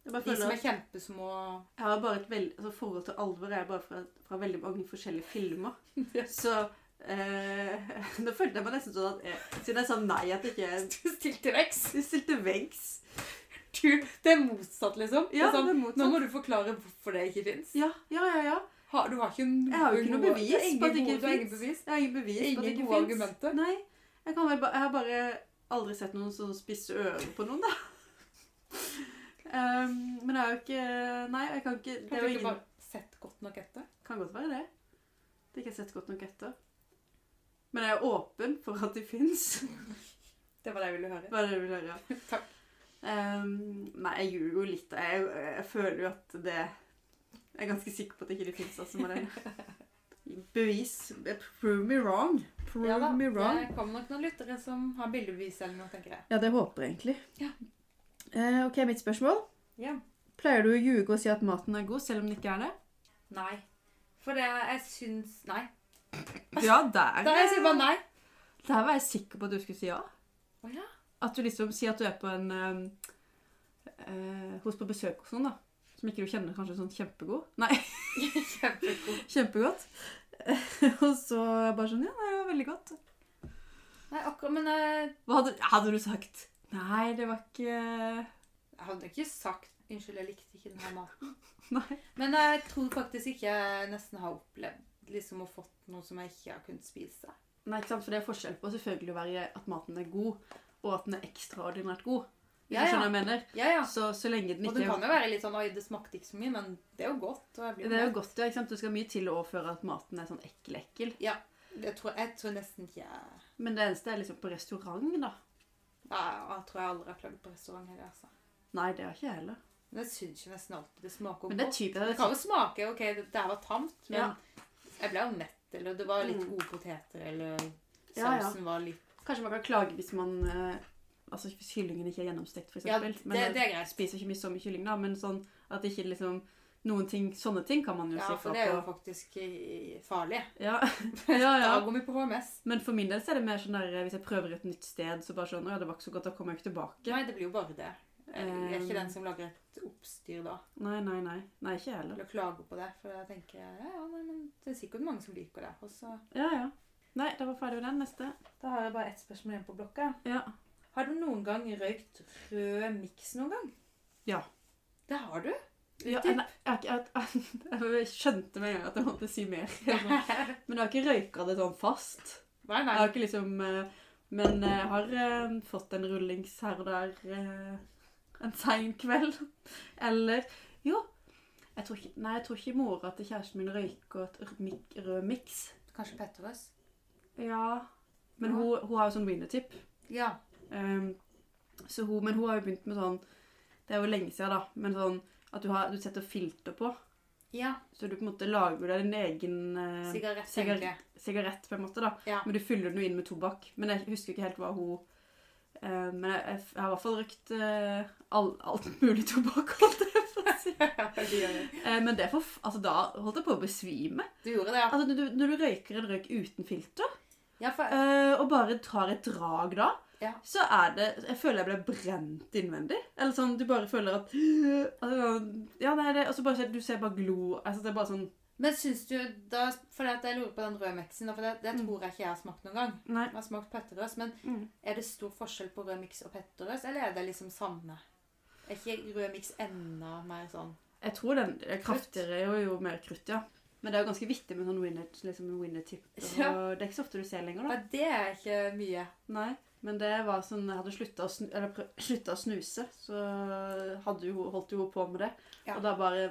B: Jeg bare
A: De som
B: føler
A: er
B: at
A: kjempesmå
B: jeg har bare et veld, altså forhold til alvor er bare fra, fra veldig mange forskjellige filmer.
A: Ja.
B: Så eh, Nå følte jeg meg nesten sånn at jeg, Siden jeg sa nei, at jeg ikke
A: Du stilte veks!
B: Du stilte veggs.
A: Du, det er motsatt, liksom. Det
B: Ja,
A: er sånn,
B: det er
A: Nå
B: motsatt.
A: må du forklare hvorfor det ikke fins.
B: Ja, ja, ja. ja.
A: Har, du har ikke noe,
B: Jeg har jo ikke noe bevis
A: det er ingen
B: på at det ikke
A: gode- du har ingen
B: finnes.
A: bevis.
B: Jeg har ingen bevis på
A: Ingen
B: at det ikke
A: gode
B: finnes.
A: argumenter.
B: Nei. Jeg, kan vel ba jeg har bare aldri sett noen som spisser ører på noen, da. Ehm, men jeg har jo ikke Nei, jeg kan ikke Det
A: Kanskje
B: er jo
A: ikke
B: ingen
A: bare sett godt nok etter?
B: Kan godt være det. Det har ikke jeg sett godt nok etter. Men jeg er åpen for at de fins.
A: Det var det jeg ville høre.
B: Hva er det du vil høre?
A: Takk.
B: Ehm, nei, jeg ljuger jo litt. Jeg, jeg føler jo at det Jeg er ganske sikker på at ikke det fins. Altså, Malene. Bevis. Eh, Prove me wrong. Prove
A: Ja da,
B: me wrong.
A: Det kommer nok noen lyttere som har bildebevis eller noe, tenker jeg.
B: Ja, det håper jeg egentlig.
A: Ja.
B: Eh, ok, mitt spørsmål.
A: Ja.
B: Pleier du å ljuge og si at maten er god, selv om den ikke er det?
A: Nei. For det jeg syns Nei.
B: Ja, der,
A: Da jeg sier bare nei.
B: der var jeg sikker på at du skulle si ja.
A: Å ja.
B: At du liksom sier at du er på en eh, eh, hos på besøk hos noen, da. Som ikke du kjenner kanskje sånn kjempegod. Nei,
A: Kjempegod.
B: kjempegodt. og så bare sånn Ja, nei, det var veldig godt.
A: Nei, akkurat, men eh, jeg,
B: Hva hadde, hadde du sagt? Nei, det var ikke
A: jeg hadde ikke sagt Unnskyld, jeg likte ikke den her maten.
B: Nei.
A: Men jeg tror faktisk ikke jeg nesten har opplevd liksom å fått noe som jeg ikke har kunnet spise.
B: Nei, ikke sant? For det er forskjell på selvfølgelig å være at maten er god, og at den er ekstraordinært god. Hvis
A: Ja,
B: du
A: ja.
B: skjønner hva jeg mener.
A: Ja, ja.
B: Så, så lenge den
A: Og det
B: ikke
A: kan jo være litt sånn Oi, det smakte ikke så mye, men det er jo godt. Og jeg blir
B: Det er jo
A: med.
B: godt, ja. ikke sant? Det skal mye til å overføre at maten er sånn ekkel-ekkel.
A: Jeg tror, jeg tror nesten ikke jeg
B: Men det eneste er liksom på restaurant, da.
A: Nei, Jeg tror jeg aldri har klagd på restaurant heller. Altså.
B: Nei, det har ikke jeg heller.
A: Men jeg syns jo nesten alltid det smaker
B: Men det er
A: godt.
B: typisk.
A: Det kan jo smake OK, det, det her var tamt, men
B: Ja.
A: jeg ble jo mett, eller det var litt
B: Mm.
A: gode poteter, eller
B: Ja, ja.
A: sausen var litt
B: Kanskje man kan klage hvis man eh, altså Hvis kyllingen ikke er gjennomstekt, f.eks.
A: Ja,
B: Ja,
A: det,
B: men eh, jeg
A: det er greit.
B: spiser ikke mye så mye kylling, da, men sånn at ikke liksom Noen ting, sånne ting kan man jo
A: Ja,
B: si
A: for
B: fra
A: det er jo
B: på.
A: faktisk eh, farlig.
B: Ja, ja, ja.
A: Da går vi på HMS.
B: Men for min del så er det mer sånn der hvis jeg prøver et nytt sted, så bare sånn Å ja, det var ikke så godt, da kommer jeg ikke tilbake.
A: Nei, det blir jo bare det. Jeg er
B: Eh,
A: ikke den som lager et oppstyr da.
B: Nei, nei, nei. Nei, ikke jeg heller.
A: Eller klager på det. For jeg tenker ja, ja, nei, men det er sikkert mange som liker det. Og så
B: Ja, ja. Nei, da var ferdig med den. Neste.
A: Da har jeg bare ett spørsmål igjen på blokka.
B: Ja.
A: Har du noen gang røykt rød miks noen gang?
B: Ja.
A: Det har du?
B: Ja,
A: Dyp.
B: nei, jeg, har ikke- jeg, jeg, jeg skjønte med en gang at jeg måtte si mer. Men jeg har ikke røyka det sånn fast.
A: Nei,
B: Jeg
A: nei.
B: har ikke liksom eh, Men jeg har eh, fått en rullings her og der eh, en sein kveld. Eller Jo. Jeg tror ikke, nei, jeg tror ikke mora til kjæresten min røyker et r- mik- rød miks.
A: Kanskje Petterøes?
B: Ja. Men hun, hun har jo sånn wienertip.
A: Ja.
B: Um, så hun, men hun har jo begynt med sånn Det er jo lenge siden, da. Men sånn at du, har, du setter filter på.
A: Ja.
B: Så du på en måte lager deg din egen eh,
A: Sigarett,
B: sigar-
A: egentlig.
B: sigarett, på en måte. da.
A: Ja.
B: Men du fyller den jo inn med tobakk. Men jeg husker ikke helt hva hun eh, Men jeg, jeg, jeg har i hvert fall røykt eh, all, alt mulig tobakk. holdt jeg på å si. Eh, men det er for, f- altså, da holdt jeg på å besvime.
A: Du gjorde det, ja.
B: Altså, når, du, når du røyker en røyk uten filter
A: Ja, for,
B: Eh, og bare tar et drag da,
A: Ja.
B: så er det Jeg føler jeg ble brent innvendig. Eller sånn, du bare føler at altså, Ja, nei, det Og så bare ser du ser bare glo altså, Det er bare sånn
A: men syns du da For at jeg lurer på den røde miksen, da, for det, det tror jeg ikke jeg har smakt noen gang.
B: Nei.
A: Jeg har smakt Petterøes, men
B: Mm.
A: er det stor forskjell på rød miks og Petterøes, eller er det liksom samme? Er ikke rød miks enda mer sånn
B: Jeg tror den er kraftigere og jo mer krutt, ja. Men det er jo ganske vittig med sånn winner, liksom winner-tipp. og
A: Ja.
B: Det er ikke så ofte du ser lenger, da.
A: Nei, det er ikke mye.
B: Nei. Men det var sånn, jeg hadde slutta å, snu, eller prøv- sluttet å snuse, så hadde jo, holdt jo hun på med det.
A: Ja.
B: Og da bare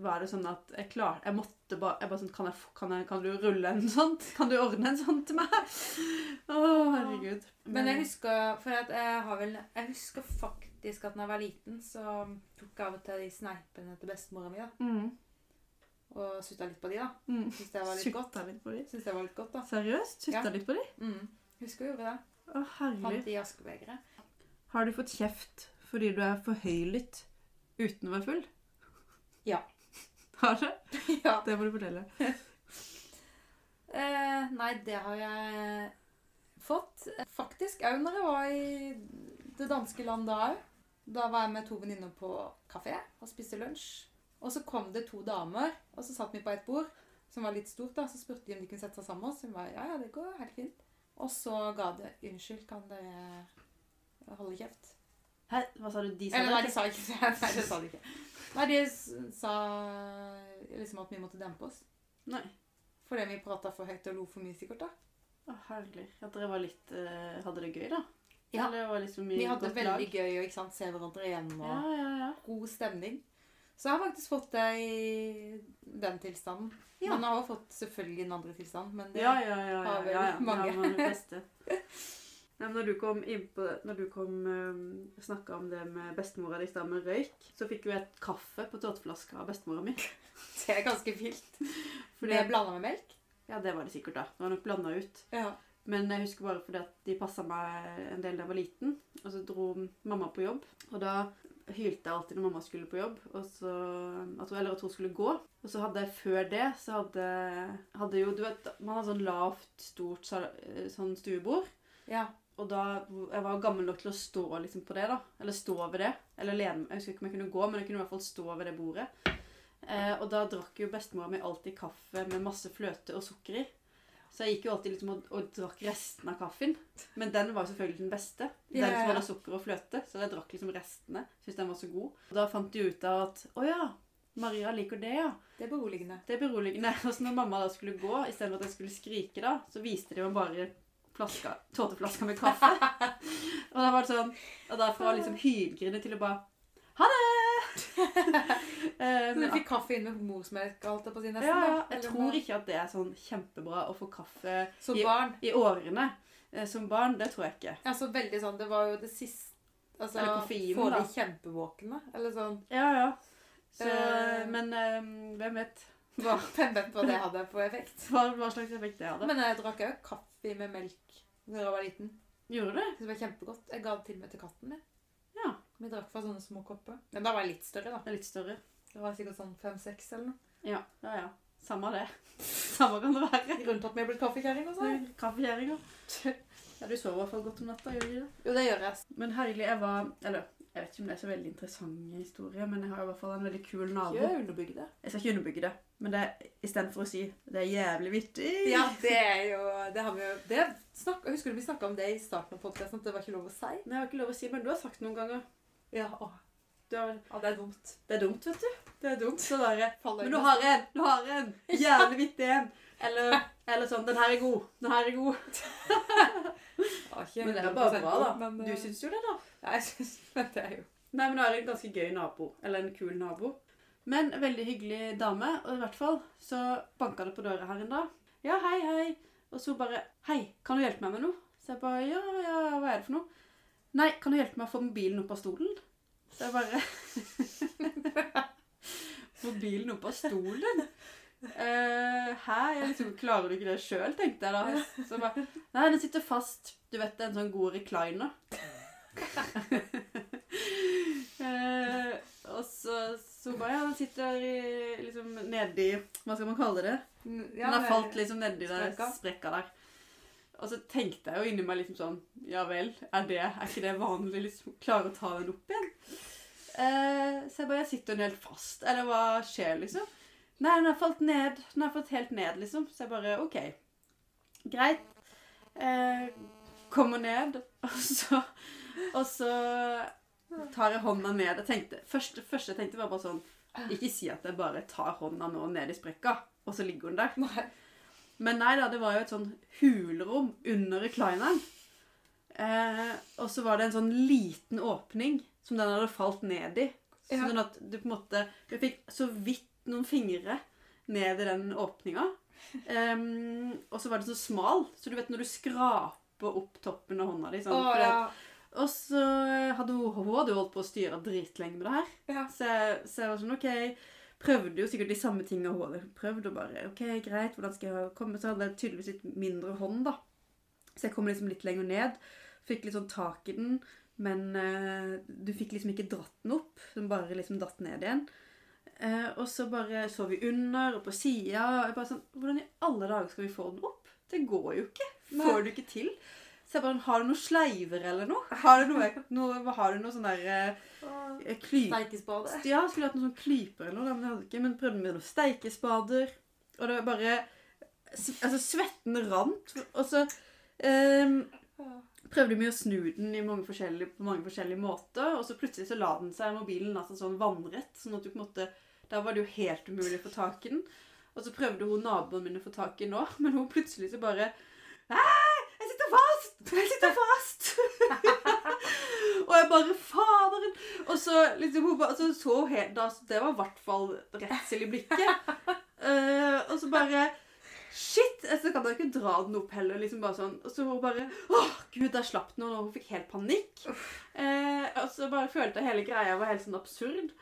B: var det sånn at jeg klarte Jeg måtte bare jeg bare sånn, kan, jeg, få- kan, jeg, kan du rulle en sånn? Kan du ordne en sånn til meg? Å, herregud.
A: Men jeg husker for at jeg, har vel, jeg husker faktisk at da jeg var liten, så tok jeg av og til de sneipene til bestemora mi. da,
B: mm,
A: Og sutta litt på de, da.
B: mm.
A: Syns det var litt godt.
B: Sutta litt på de.
A: Synes det var litt godt, da.
B: Seriøst? Sutta
A: Ja.
B: litt på de?
A: Mm. Husker jeg gjorde det.
B: Å, herregud.
A: Fant de i askebegeret.
B: Har du fått kjeft fordi du er for høylytt uten å være full?
A: Ja.
B: Har du?
A: ja.
B: Det må du fortelle.
A: Eh, nei, det har jeg fått. Faktisk òg når jeg var i det danske land da òg. Da var jeg med to venninner på kafé og spiste lunsj. Og så kom det to damer, og så satt vi på et bord som var litt stort. da, Så spurte de om de kunne sette seg sammen med oss. Hun var, ja, ja, det går helt fint. Og så ga det 'Unnskyld, kan dere holde kjeft?'
B: Hæ? Hva sa du? De
A: Eller nei, de
B: det?
A: sa ikke det. Nei, det sa de ikke. Nei, de s- sa liksom at vi måtte dempe oss.
B: Nei.
A: Fordi vi prata for høyt og lo for mye, sikkert. da.
B: Å, herlig. At dere var litt, eh, hadde det gøy, da?
A: Ja.
B: Eller var liksom i
A: Vi hadde
B: godt
A: veldig
B: lag?
A: gøy og ikke sant, se hverandre igjen og
B: Ja, ja, ja.
A: god stemning. Så jeg har faktisk fått det i den tilstanden.
B: Ja.
A: Man har jo fått selvfølgelig den andre tilstanden, men det,
B: Ja, ja, ja. ja,
A: har vel
B: ja, ja.
A: mange.
B: Ja, men de fleste. Nei, men når du kom inn på, når du kom eh, snakket om det med bestemora di i stad med røyk, så fikk jo jeg et kaffe på tåteflaska av bestemora mi.
A: det er ganske vilt.
B: Fordi,
A: det blanda med melk.
B: ja, det var det sikkert, da. Det var nok blanda ut.
A: Ja.
B: Men jeg husker bare fordi at de passa meg en del da jeg var liten. Og så dro mamma på jobb. Og da hylte jeg alltid når mamma skulle på jobb, og så, at hun, eller at hun skulle gå. Og så hadde jeg før det, så hadde, hadde jo Du vet, man har sånn lavt, stort sal- eh, sånn stuebord.
A: ja.
B: Og da, Jeg var gammel nok til å stå liksom på det. da, Eller stå ved det. Eller lene meg. Jeg husker ikke om jeg kunne gå, men jeg kunne i hvert fall stå ved det bordet. Eh, og da drakk jo bestemora mi alltid kaffe med masse fløte og sukker i. Så jeg gikk jo alltid liksom og, og drakk resten av kaffen. Men den var jo selvfølgelig den beste. Den
A: Ja, ja,
B: som
A: ja.
B: hadde sukker og fløte. Så jeg drakk liksom restene. Syntes den var så god. Og da fant de ut av at Å ja, Maria liker det, ja.
A: Det er beroligende.
B: Det er beroligende. Og så når mamma da skulle gå, istedenfor at jeg skulle skrike, da, så viste de meg bare flaska, tåteflaska med kaffe. Og da var det sånn, og da fra liksom hylgrine til å bare Ha det! Eh,
A: Så du
B: Men
A: fikk kaffe inn med morsmelk og alt det på sin
B: ja,
A: nesten?
B: ja,
A: da?
B: jeg
A: Eller
B: tror
A: hva?
B: ikke at det er sånn kjempebra å få kaffe
A: Som
B: i-
A: barn.
B: i årene eh, som barn. Det tror jeg ikke.
A: Altså veldig sånn Det var jo det siste Altså,
B: Eller koffeinen,
A: Får de
B: da.
A: kjempevåkne? Eller sånn
B: Ja, ja. Så,
A: Eh.
B: men eh, hvem vet hva,
A: Hvem vet hva det hadde på effekt?
B: hva, hva slags effekt det hadde.
A: Men jeg drakk òg kaffe med melk da jeg var liten.
B: Gjorde du det?
A: Det var kjempegodt. Jeg ga det til og med til katten min.
B: Ja.
A: Vi drakk fra sånne små kopper. Men da var jeg litt større, da.
B: Det er litt større.
A: Det var sikkert sånn fem-seks eller noe.
B: Ja, ja, ja. Samme det. Samme kan det være.
A: Rundt at vi er blitt kaffekjerring og sånn.
B: Kaffekjerringa. Ja, du sover i hvert fall godt om natta, gjør du ikke det?
A: Jo, det gjør jeg.
B: Men herlig, jeg var Eller jeg vet ikke om det er så veldig interessant historie, men jeg har i hvert fall en veldig kul nabo.
A: Ikke underbygg det.
B: Jeg skal ikke underbygge det, men det er istedenfor å si det er jævlig vittig.
A: Ja, det er jo Det har vi jo det snakk, jeg Husker du vi snakka om det i starten av podkasten, at det var ikke lov å si?
B: Men jeg har ikke lov å si, men du har sagt noen ganger.
A: Ja, å,
B: Du har,
A: ja det er dumt.
B: det er dumt, vet du. Det er dumt. Så bare
A: Faller
B: Men du
A: ikke.
B: har en! Du har en! Jævlig vittig en! Eller, eller sånn Den her er god. Den her er god.
A: Ja, ikke
B: Men eh, det er bare
A: 100%
B: bra, da.
A: Men, eh,
B: Du syns jo det, da.
A: Ja, jeg syns Men det er jo
B: Nei, men da er det en ganske gøy nabo. Eller en kul nabo. Men en veldig hyggelig dame. Og i hvert fall så banka det på døra her en dag. Ja, hei, hei. Og så bare Hei, kan du hjelpe meg med noe? Så jeg bare Ja, ja, hva er det for noe? Nei, kan du hjelpe meg å få mobilen opp av stolen? Så jeg bare Mobilen opp av stolen? Eh, hæ? Jeg liksom, klarer du ikke det sjøl, tenkte jeg da. Så jeg bare, Nei, den sitter fast. Du vet det er en sånn god recliner. Eh, og så, så bare Ja, den sitter i, liksom nedi Hva skal man kalle det?
A: Ja,
B: Den har
A: det-
B: falt liksom nedi der
A: Sprekka.
B: sprekka der. Og så tenkte jeg jo inni meg liksom sånn Ja vel, er, det, er ikke det vanlig? Liksom, klare å ta den opp igjen? Eh, så jeg bare Jeg sitter den helt fast. Eller hva skjer, liksom? Nei, den har falt ned. Den har falt helt ned, liksom. Så jeg bare OK. Greit. Eh, kommer ned, og så Og så tar jeg hånda ned. Jeg tenkte, første, første jeg tenkte var bare sånn Ikke si at jeg bare tar hånda nå ned i sprekka, og så ligger hun der.
A: Nei.
B: Men nei da, det var jo et sånn hulrom under reclineren. Eh, og så var det en sånn liten åpning som den hadde falt ned i.
A: Ja.
B: Sånn at du på en måte Du fikk så vidt noen fingre ned i den åpninga. Em, Ehm, og så var den så smal, så du vet når du skraper opp toppen av hånda di sånn,
A: Å,
B: for det-
A: ja.
B: og så eh, hadde hun, hun hadde jo holdt på å styre dritlenge med det her.
A: Ja.
B: Så, jeg- så jeg var sånn, ok, prøvde jo sikkert de samme tingene hun hadde prøvd, og bare, ok, greit, hvordan skal jeg komme? Så hadde jeg tydeligvis litt mindre hånd da. Så jeg kom liksom litt lenger ned, fikk litt sånn tak i den, men eh, du fikk liksom ikke dratt den opp, den bare liksom datt ned igjen. Eh, og så bare så vi under og på sida, og jeg bare sånn, hvordan i alle dager skal vi få den opp? Det går jo ikke, får du ikke til. Så jeg bare, har du noen sleiver eller noe? Har du noe, noe, har du noe sånn der
A: Å,
B: eh, klype?
A: Steikespade.
B: Ja, skulle hatt noen sånn klyper eller noe, men jeg hadde ikke, men prøvde med noen steikespader. Og det var bare, s- altså svetten rant, og så eh,
A: Å,
B: prøvde vi å snu den i mange forskjellige, på mange forskjellige måter, og så plutselig så la den seg mobilen altså sånn vannrett, sånn at du på en måte, da var det jo helt umulig å få tak i den. Og så prøvde hun naboen min å få tak i den også, men hun plutselig så bare, «Æ, jeg sitter fast! Jeg sitter fast! og jeg bare, faderen! Og så liksom, hun bare, så, så helt, da, det var i hvert fall retsel i blikket. Eh, og så bare, Shit! Så kan dere ikke dra den opp heller. liksom bare sånn. Og så hun bare Åh, gud, der slapp den, og hun fikk helt panikk. Eh, og så bare følte jeg hele greia var helt sånn absurd.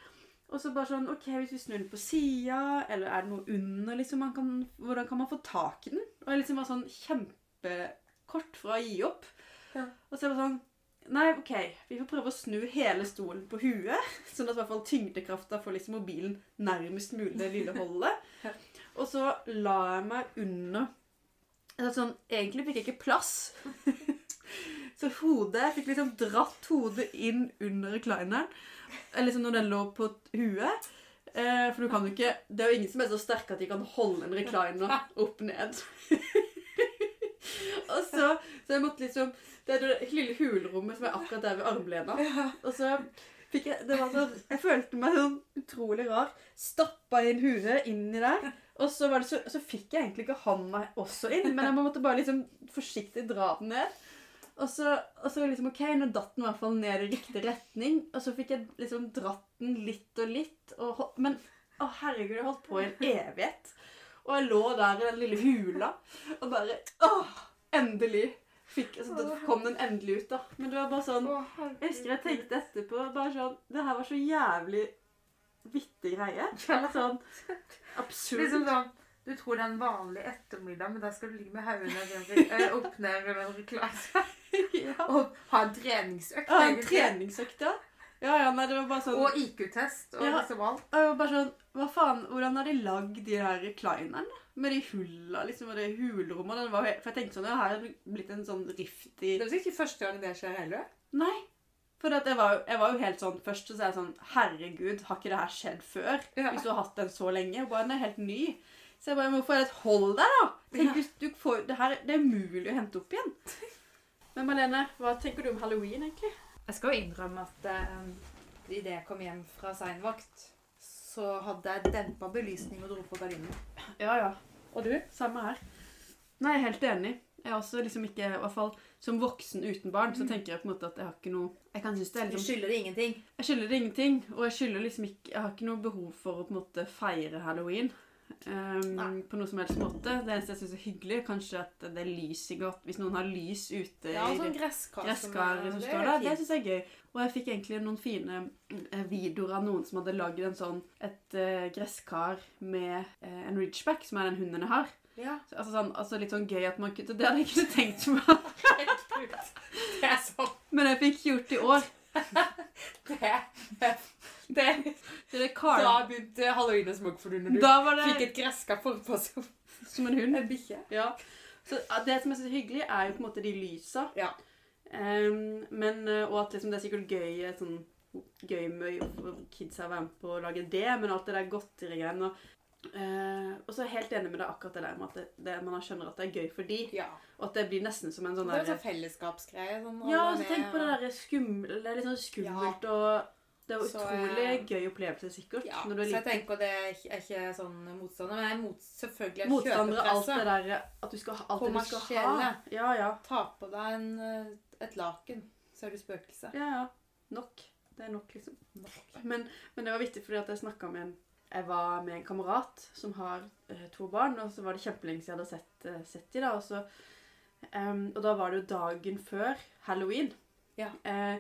B: Og så bare sånn OK, hvis vi snur den på sida, eller er det noe under, liksom? Man kan, hvordan kan man få tak i den? Og jeg liksom var sånn kjempekort fra å gi opp.
A: Ja.
B: Og så jeg var sånn Nei, OK, vi får prøve å snu hele stolen på huet, sånn at i hvert fall tyngdekrafta får liksom mobilen nærmest mulig det lille hullet. Og så la jeg meg under altså, sånn, Egentlig fikk jeg ikke plass. så hodet Jeg fikk liksom dratt hodet inn under reclineren. eh, Liksom når den lå på t- huet. Eh, for du kan jo ikke Det er jo ingen som er så sterke at de kan holde en recliner opp ned. og så Så jeg måtte liksom Det er det lille hulrommet som er akkurat der ved armlena.
A: Ja.
B: Og så fikk jeg det var sånn, Jeg følte meg sånn utrolig rar. Stappa inn huet inni der. Og så, var det så, så fikk jeg egentlig ikke han meg også inn, men jeg måtte bare liksom forsiktig dra den ned. Og så, og så liksom, ok, nå datt den i hvert fall ned i riktig retning. Og så fikk jeg liksom dratt den litt og litt. Og, hol- men å herregud, jeg holdt på i en evighet. Og jeg lå der i den lille hula og bare åh, Endelig! Fikk, altså, da kom den endelig ut, da. Men det var bare sånn
A: Å, herregud.
B: jeg husker jeg tenkte etterpå bare sånn Det her var så jævlig vittig greie. Eller sånn absurd.
A: Liksom sånn Du tror det er en vanlig ettermiddag, men der skal du ligge med hodet ned i en re- eh, opp ned i en reklame.
B: ja.
A: Og ha en treningsøkt.
B: Ja, en
A: egentlig.
B: treningsøkt, ja. Ja, ja, nei, det var bare sånn
A: Og IQ-test og
B: Ja.
A: liksom alt.
B: Jeg var bare sånn, hva faen, Hvordan har de lagd de her reclinerne? Med de hulla, liksom, og det hulrommet. Den var, helt- for jeg tenkte sånn, ja, her er det blitt en sånn rift i
A: Det er vel ikke første gang det skjer heller.
B: Nei. For at jeg, var, jo- jeg var jo helt sånn Først så sa jeg sånn Herregud, har ikke det her skjedd før?
A: Ja.
B: Hvis du har hatt den så lenge. Og bare, den er helt ny. Så jeg bare Hvorfor er det et hold der, da? Tenk, hvis du får, det, her, det er umulig å hente opp igjen. Men Malene, hva tenker du om halloween, egentlig?
A: Jeg skal jo innrømme at eh, idet jeg kom hjem fra seinvakt, så hadde jeg dempa belysning og dro på gardinen.
B: Ja, ja.
A: Og du?
B: Samme her. Nei, jeg er helt enig. Jeg er også liksom ikke, i hvert fall som voksen uten barn, så tenker jeg på en måte at jeg har Mm. ikke noe Jeg kan synes det er
A: Du
B: liksom
A: skylder det ingenting.
B: Jeg skylder det ingenting, og jeg skylder liksom ikke Jeg har ikke noe behov for å på en måte feire halloween. ehm,
A: Nei.
B: på noe som helst måte. Det eneste jeg syns er hyggelig, er kanskje at det er lys i godt. Hvis noen har lys ute
A: Ja, og
B: i
A: sånn gresskar
B: gresskar som står der. Det syns jeg er gøy. Og jeg fikk egentlig noen fine eh, videoer av noen som hadde lagd en sånn et eh, gresskar med eh, en ridgeback, som er den hunden jeg har.
A: Ja.
B: Så, Altså, sånn, altså litt sånn gøy at man kunne Det hadde jeg ikke tenkt på.
A: Det er sånn
B: Men jeg fikk gjort i år.
A: det, det, det.
B: Så det er
A: Da
B: Carl.
A: begynte halloween å smoke for deg når du
B: Da var
A: fikk
B: det
A: et gresskar forpå som
B: som en hund.
A: en bikkje.
B: Ja. Så ja, det som er så hyggelig, er jo på en måte de lysa.
A: Ja.
B: Ehm, men, eh, og at liksom, det er sikkert gøy eh, sånn, gøy med for kidsa å være med på å lage det, men alt det der godterigreiene. Og, eh, og så er jeg helt enig med deg akkurat det der med at det, det, man skjønner at det er gøy for de,
A: Ja.
B: og at det blir nesten som en
A: Det
B: sånn
A: var en
B: der
A: sånn fellesskapsgreie. Sånn,
B: Ja,
A: holde
B: altså
A: med,
B: tenk på det
A: og-
B: der skumle. Det er litt sånn skummelt, og det er jo
A: Så,
B: utrolig
A: eh,
B: gøy opplevelse sikkert
A: Ja,
B: når du er
A: så jeg
B: liten.
A: tenker det er ikke- er ikke sånn motstander, men jeg er mot, selvfølgelig jeg
B: Motstandere,
A: kjøper
B: alt det
A: presset.
B: der eh, At du skal ha alt det du skal ha.
A: Kommersielle.
B: Ja, ja.
A: Ta på deg en, eh, et laken, så er du spøkelse.
B: Ja, ja. Nok. Det er nok, liksom. Men, men det var viktig fordi at jeg snakka med en Jeg var med en kamerat som har eh, to barn, og så var det kjempelenge siden jeg hadde sett, eh, sett de da, og så em, Og da var det jo dagen før halloween.
A: Ja.
B: Eh,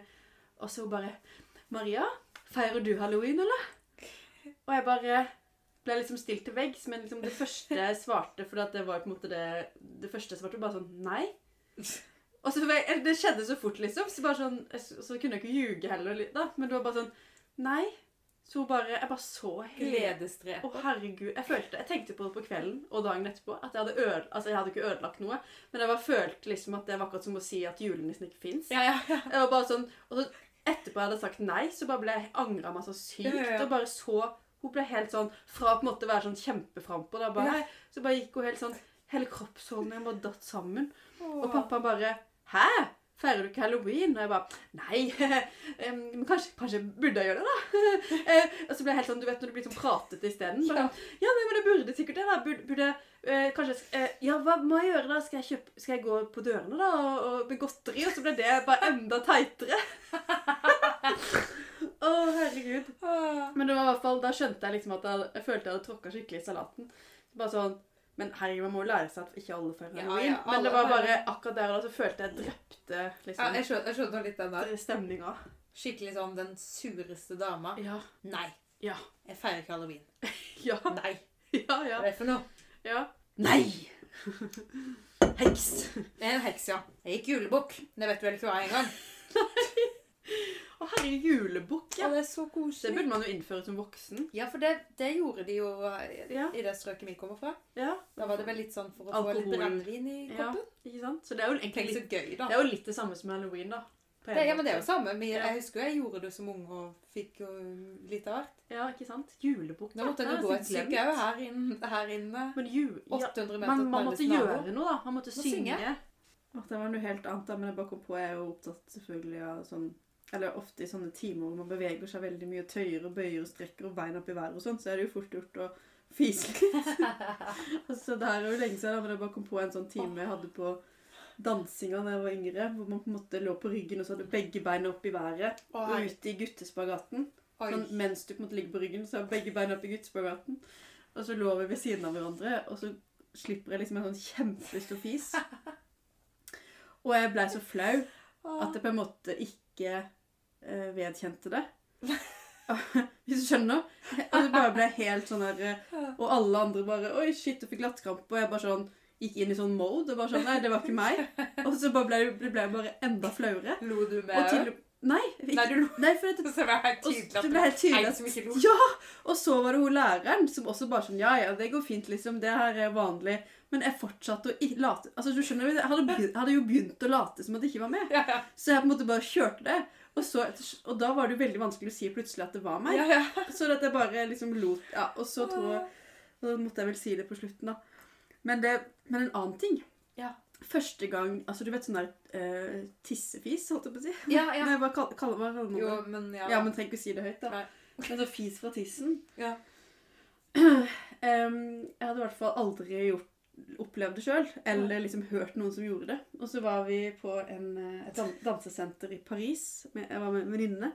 B: og så hun bare 'Maria, feirer du halloween, eller?' Og jeg bare ble liksom stilt til veggs, men liksom det første jeg svarte For det var jo på en måte det Det første jeg svarte, var bare sånn Nei. Og så, var jeg- Det skjedde så fort, liksom. Så, bare sånn, så kunne jeg ikke ljuge heller. da, Men det var bare sånn Nei. Så hun bare, jeg bare så hele Å,
A: Gledesdreper.
B: herregud. Jeg følte, jeg tenkte på det på kvelden og dagen etterpå. at Jeg hadde øde, altså jeg hadde ikke ødelagt noe, men jeg bare følte liksom at det var akkurat som å si at julenissen ikke fins.
A: Ja, ja, ja.
B: Jeg var bare sånn, og så etterpå jeg hadde sagt nei, så bare ble jeg angra meg så sykt.
A: Ja, ja, ja.
B: Og bare så Hun ble helt sånn Fra å på en måte være sånn kjempeframpå, da bare,
A: Ja.
B: så bare gikk hun helt sånn Hele kroppsholdningen bare datt sammen. Og pappa bare Hæ? Feirer du ikke halloween? Og jeg bare Nei. em, Men kanskje, kanskje burde jeg gjøre det, da? Eh, og så ble jeg helt sånn Du vet når du blir sånn pratete isteden? Bare, Ja, nei, men det burde sikkert det, da. Burde, burde eh, Kanskje jeg sk- eh, Ja, hva må jeg gjøre, da? Skal jeg, kjøpe, skal jeg gå på dørene, da, og, og med godteri? Og så ble det bare enda teitere. Å, herregud.
A: Åh.
B: Men det var i hvert fall, da skjønte jeg liksom at jeg, jeg følte jeg hadde tråkka skikkelig i salaten. Bare sånn Men herregud, man må jo lære seg at ikke alle feirer
A: Ja,
B: halloween.
A: ja, alle
B: men det var bare
A: feirer.
B: akkurat der og da så følte jeg drepte
A: Ja,
B: liksom
A: jeg skjønner, jeg skjønner litt den der.
B: stemninga.
A: Skikkelig sånn den sureste dama.
B: Ja.
A: Nei,
B: Ja.
A: jeg feirer ikke halloween.
B: Ja.
A: Nei.
B: Ja.
A: Hva
B: ja,
A: er det for noe?
B: ja. Nei! Heks.
A: Jeg er en heks, ja. Jeg gikk julebukk. Det vet du vel ikke hva jeg er engang.
B: Å, herre julebukk, ja.
A: Og det er så
B: Det
A: koselig.
B: burde man jo innføre som voksen.
A: Ja, for det, det gjorde de jo eh,
B: Ja.
A: i det strøket vi kommer fra.
B: ja.
A: Da var det vel litt sånn for å få litt
B: Alkohol.
A: brennevin i
B: Ja,
A: koppen.
B: ikke sant? Så det er jo
A: Tenk
B: egentlig
A: så
B: litt,
A: gøy, da.
B: det, er jo litt det samme som halloween, da. På en
A: Det, ja, men
B: måte.
A: det er jo samme. Men
B: Ja.
A: jeg husker jo jeg gjorde det som ung og fikk jo eh, litt av hvert.
B: Ja, ikke sant? Julebukk.
A: Da måtte
B: ja,
A: en jo
B: det
A: gå
B: har jeg
A: et
B: så glemt.
A: stykke òg her, inn- her inne.
B: Men jul... Ja,
A: 800 meter
B: man, man
A: til
B: måtte
A: nærmeste
B: gjøre
A: nabo.
B: noe, da. Man måtte
A: Må
B: synge.
A: synge.
B: Åh, det var noe helt annet, da, men jeg bare kom på jeg er jo opptatt selvfølgelig av sånn Eller ofte i sånne timer hvor man beveger seg veldig mye, tøyer og bøyer og strekker og beina opp i været og sånn, så er det jo fort gjort å fise litt. så det her er jo lenge siden, da, men jeg bare kom på en sånn time jeg hadde på dansinga da jeg var yngre, hvor man på en måte lå på ryggen og så hadde begge beina opp i været
A: Å,
B: og
A: herregud.
B: ute i guttespagaten.
A: Oi.
B: Sånn, mens du på en måte ligger på ryggen, så har begge beina opp i guttespagaten. Og så lå vi ved siden av hverandre, og så slipper jeg liksom en sånn kjempestor fis. Og jeg blei så flau at jeg på en måte ikke eh, vedkjente det. Hvis du skjønner? Og det bare ble helt sånn der eh, Og alle andre bare Oi, shit, jeg fikk latterkrampe. Og jeg bare sånn gikk inn i sånn mode og bare sånn Nei, det var ikke meg. Og så bare ble det ble jeg bare enda flauere.
A: Lo du med
B: Og til Nei,
A: Nei,
B: ikke,
A: du lo.
B: nei for det,
A: Så det var helt
B: og,
A: tydelig at
B: det ble
A: det
B: helt
A: var
B: tydelig
A: en
B: at
A: som ikke lo.
B: Ja! Og så var det hun læreren som også bare sånn Ja, ja, det går fint, liksom. Det her er vanlig. Men jeg fortsatte å i- late Altså, du skjønner jo, Jeg hadde, begynt, hadde jo begynt å late som at jeg ikke var med.
A: Ja, ja.
B: Så jeg på en måte bare kjørte det. Og, så, og da var det jo veldig vanskelig å si plutselig at det var meg.
A: Ja, ja.
B: Så at jeg bare liksom lot Ja, og så tror jeg Da måtte jeg vel si det på slutten, da. Men, det, men en annen ting.
A: Ja.
B: Første gang Altså, du vet sånn der eh, tissefis, holdt jeg på å si?
A: ja, ja.
B: Nei, hva kall- kaller hva kaller man det?
A: Jo, men ja.
B: Ja, men trenger ikke å si det høyt, da.
A: Nei.
B: Men så fis fra tissen
A: Ja.
B: Em, Jeg hadde i hvert fall aldri gjort, opplevd det sjøl, eller liksom hørt noen som gjorde det. Og så var vi på en, eh, et dan- dansesenter i Paris. Med, jeg var med en venninne.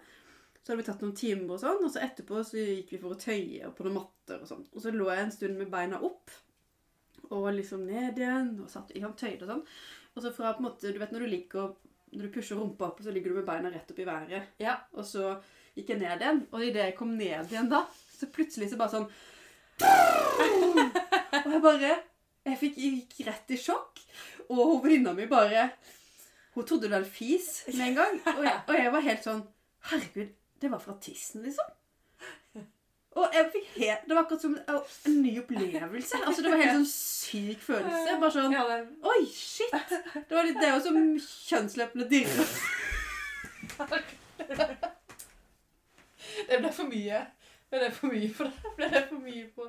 B: Så hadde vi tatt noen timer, og sånn, og så etterpå så gikk vi for å tøye og på noen matter. Og sånn. Og så lå jeg en stund med beina opp, og liksom ned igjen, og satt i han tøyde og sånn. Og så fra på en måte, du vet når du ligger og når du pusher rumpa opp, så ligger du med beina rett opp i været.
A: Ja.
B: Og så gikk jeg ned igjen, og idet jeg kom ned igjen da, så plutselig så bare sånn Og jeg bare Jeg fikk, gikk rett i sjokk. Og hun venninna mi bare Hun trodde det var en fis med en gang. Og jeg, og jeg var helt sånn Herregud, det var fra tissen, liksom. Og jeg fikk helt, Det var akkurat som en, en ny opplevelse. Altså, Det var helt sånn syk følelse. Bare sånn
A: Ja, det,
B: Oi, shit! Det, var litt, det er jo som kjønnsløpende dirre.
C: Det ble for mye. Ble det for mye for deg? Ble det for mye for,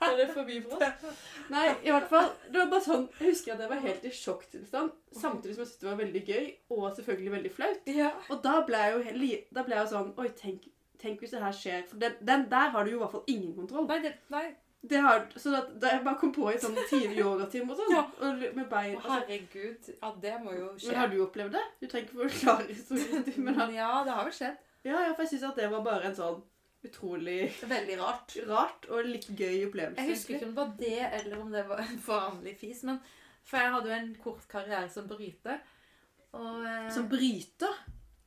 C: ble det for, mye for oss?
B: Nei, i hvert fall. Det var bare sånn, Jeg husker at jeg var helt i sjokktilstand, samtidig som jeg syntes det var veldig gøy, og selvfølgelig veldig flaut.
A: ja.
B: Og da ble jeg jo, helt li- da ble jeg jo sånn Oi, tenk, tenk hvis det her skjer. For den, den der har du jo i hvert fall ingen kontroll.
A: Nei, det, nei.
B: Det har, så da, da jeg bare kom på i sånn tidlig yogatimer og sånn.
A: Ja.
B: Og med bein
A: Å,
B: altså,
A: herregud. Ja, det må jo
B: Men
A: skje.
B: har du opplevd det? Du trenger ikke forklare historien din, men
A: Men
B: har-
A: ja, det har jo skjedd.
B: ja, ja, for jeg syns at det var bare en sånn utrolig
A: Veldig rart.
B: rart og litt gøy opplevelse.
A: Jeg husker ikke om det var det, eller om det var en vanlig fis. Men, for jeg hadde jo en kort karriere som bryter. Og eh,
B: Som bryter.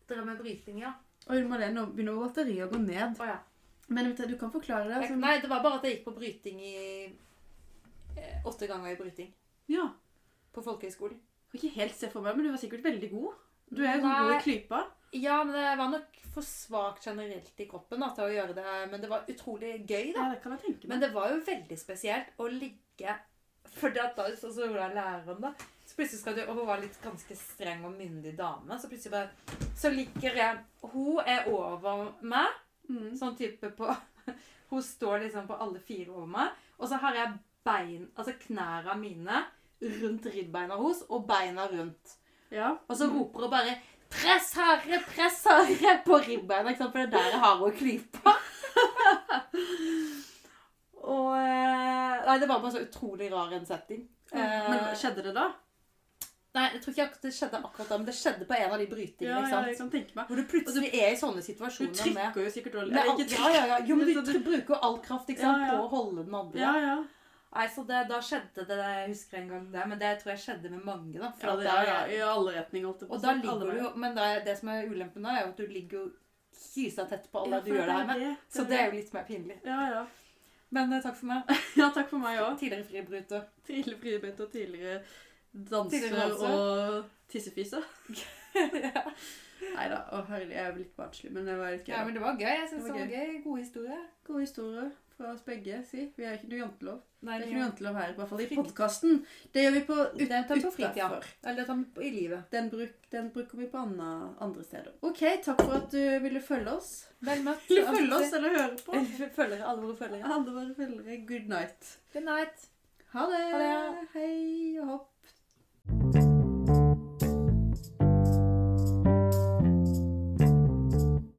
A: drev med bryting, ja.
B: Oi, Malene, nå begynner batteriet å gå ned.
A: Å, ja.
B: Men vet du, du kan forklare det. altså.
A: Jeg,
B: Som,
A: nei, det var bare at jeg gikk på bryting i eh, Åtte ganger i bryting.
B: ja,
A: På folkehøyskolen.
B: jeg kan ikke helt se for meg, men du var sikkert veldig god. Du er jo sånn
A: Nei.
B: god i klypa.
A: Ja, men det var nok for svakt generelt i kroppen da, til å gjøre det. Men det var utrolig gøy, da.
B: Ja, det kan jeg tenke
A: Men
B: meg.
A: det var jo veldig spesielt å ligge For det at da sånn så, så gjorde jeg læreren da Så plutselig skal du Og hun var litt ganske streng og myndig dame Så plutselig bare Så ligger jeg Hun er over meg
B: Mm.
A: Sånn type på Hun står liksom på alle fire over meg Og så har jeg bein Altså knæra mine Rundt riddbeina hos Og beina rundt
B: Ja.
A: og så roper hun bare 'Press harde, press harde!' på ribbeina, ikke sant? for det er der jeg har å klype. og eh, Nei, det var bare så utrolig rar en setting. Eh,
B: Men skjedde det da?
A: nei, jeg tror ikke akkurat det skjedde akkurat da, men det skjedde på en av de brytingene. ikke sant?
B: jeg kan tenke meg.
A: Hvor du plutselig er i sånne
B: Du
A: situasjoner med
B: trykker jo sikkert dårlig.
A: med
B: Eller
A: alt,
B: ikke
A: ja, ja, ja. Jo, men du
B: trykker.
A: tr- bruker jo all kraft ikke sant,
B: Ja, ja.
A: på å holde den andre.
B: Ja, ja.
A: Nei, så det, Da skjedde det, jeg husker en gang det, men det tror jeg skjedde med mange. da. for
B: Ja,
A: at
B: det
A: der-
B: er, ja, I alle retninger. holdt jeg på å
A: Og
B: si.
A: da
B: Alle
A: ligger du jo
B: veier.
A: Men det, er- det som er ulempen da, er jo at du ligger jo kysa tett på alle
B: Ja,
A: du
B: for
A: gjør det her med.
B: er
A: Så det er jo litt mer pinlig.
B: Ja, ja.
A: Men eh, takk for meg.
B: Ja, takk for meg òg.
A: Tidligere fribryter.
B: Tidligere fribeint og tidligere
A: Tidligere
B: danser
A: danser.
B: og tissefise.
A: ja.
B: Nei da. Å, herlig. Jeg er vel litt barnslig, men det var litt gøy. da.
A: men det var gøy. Jeg synes det
B: Det var
A: var gøy. God historie.
B: Gode historier fra oss begge. si. Vi har ikke noe jantelov.
A: Nei,
B: Det er
A: det
B: ikke noe jantelov her, i hvert fall i
A: Fri-
B: podkasten. Det gjør vi på ut,
A: Den tar vi på fritida.
B: utenfor.
A: Eller ta den på- i livet.
B: Den, bruk, den bruker vi på anna, andre steder. OK, takk for at du ville følge oss.
A: Vel møtt.
B: Ville følge oss eller høre på.
A: Følgere. Alle våre følgere.
B: Alle våre følgere, good night.
A: Good night.
B: Ha det.
A: Ha det.
B: Hei og hopp.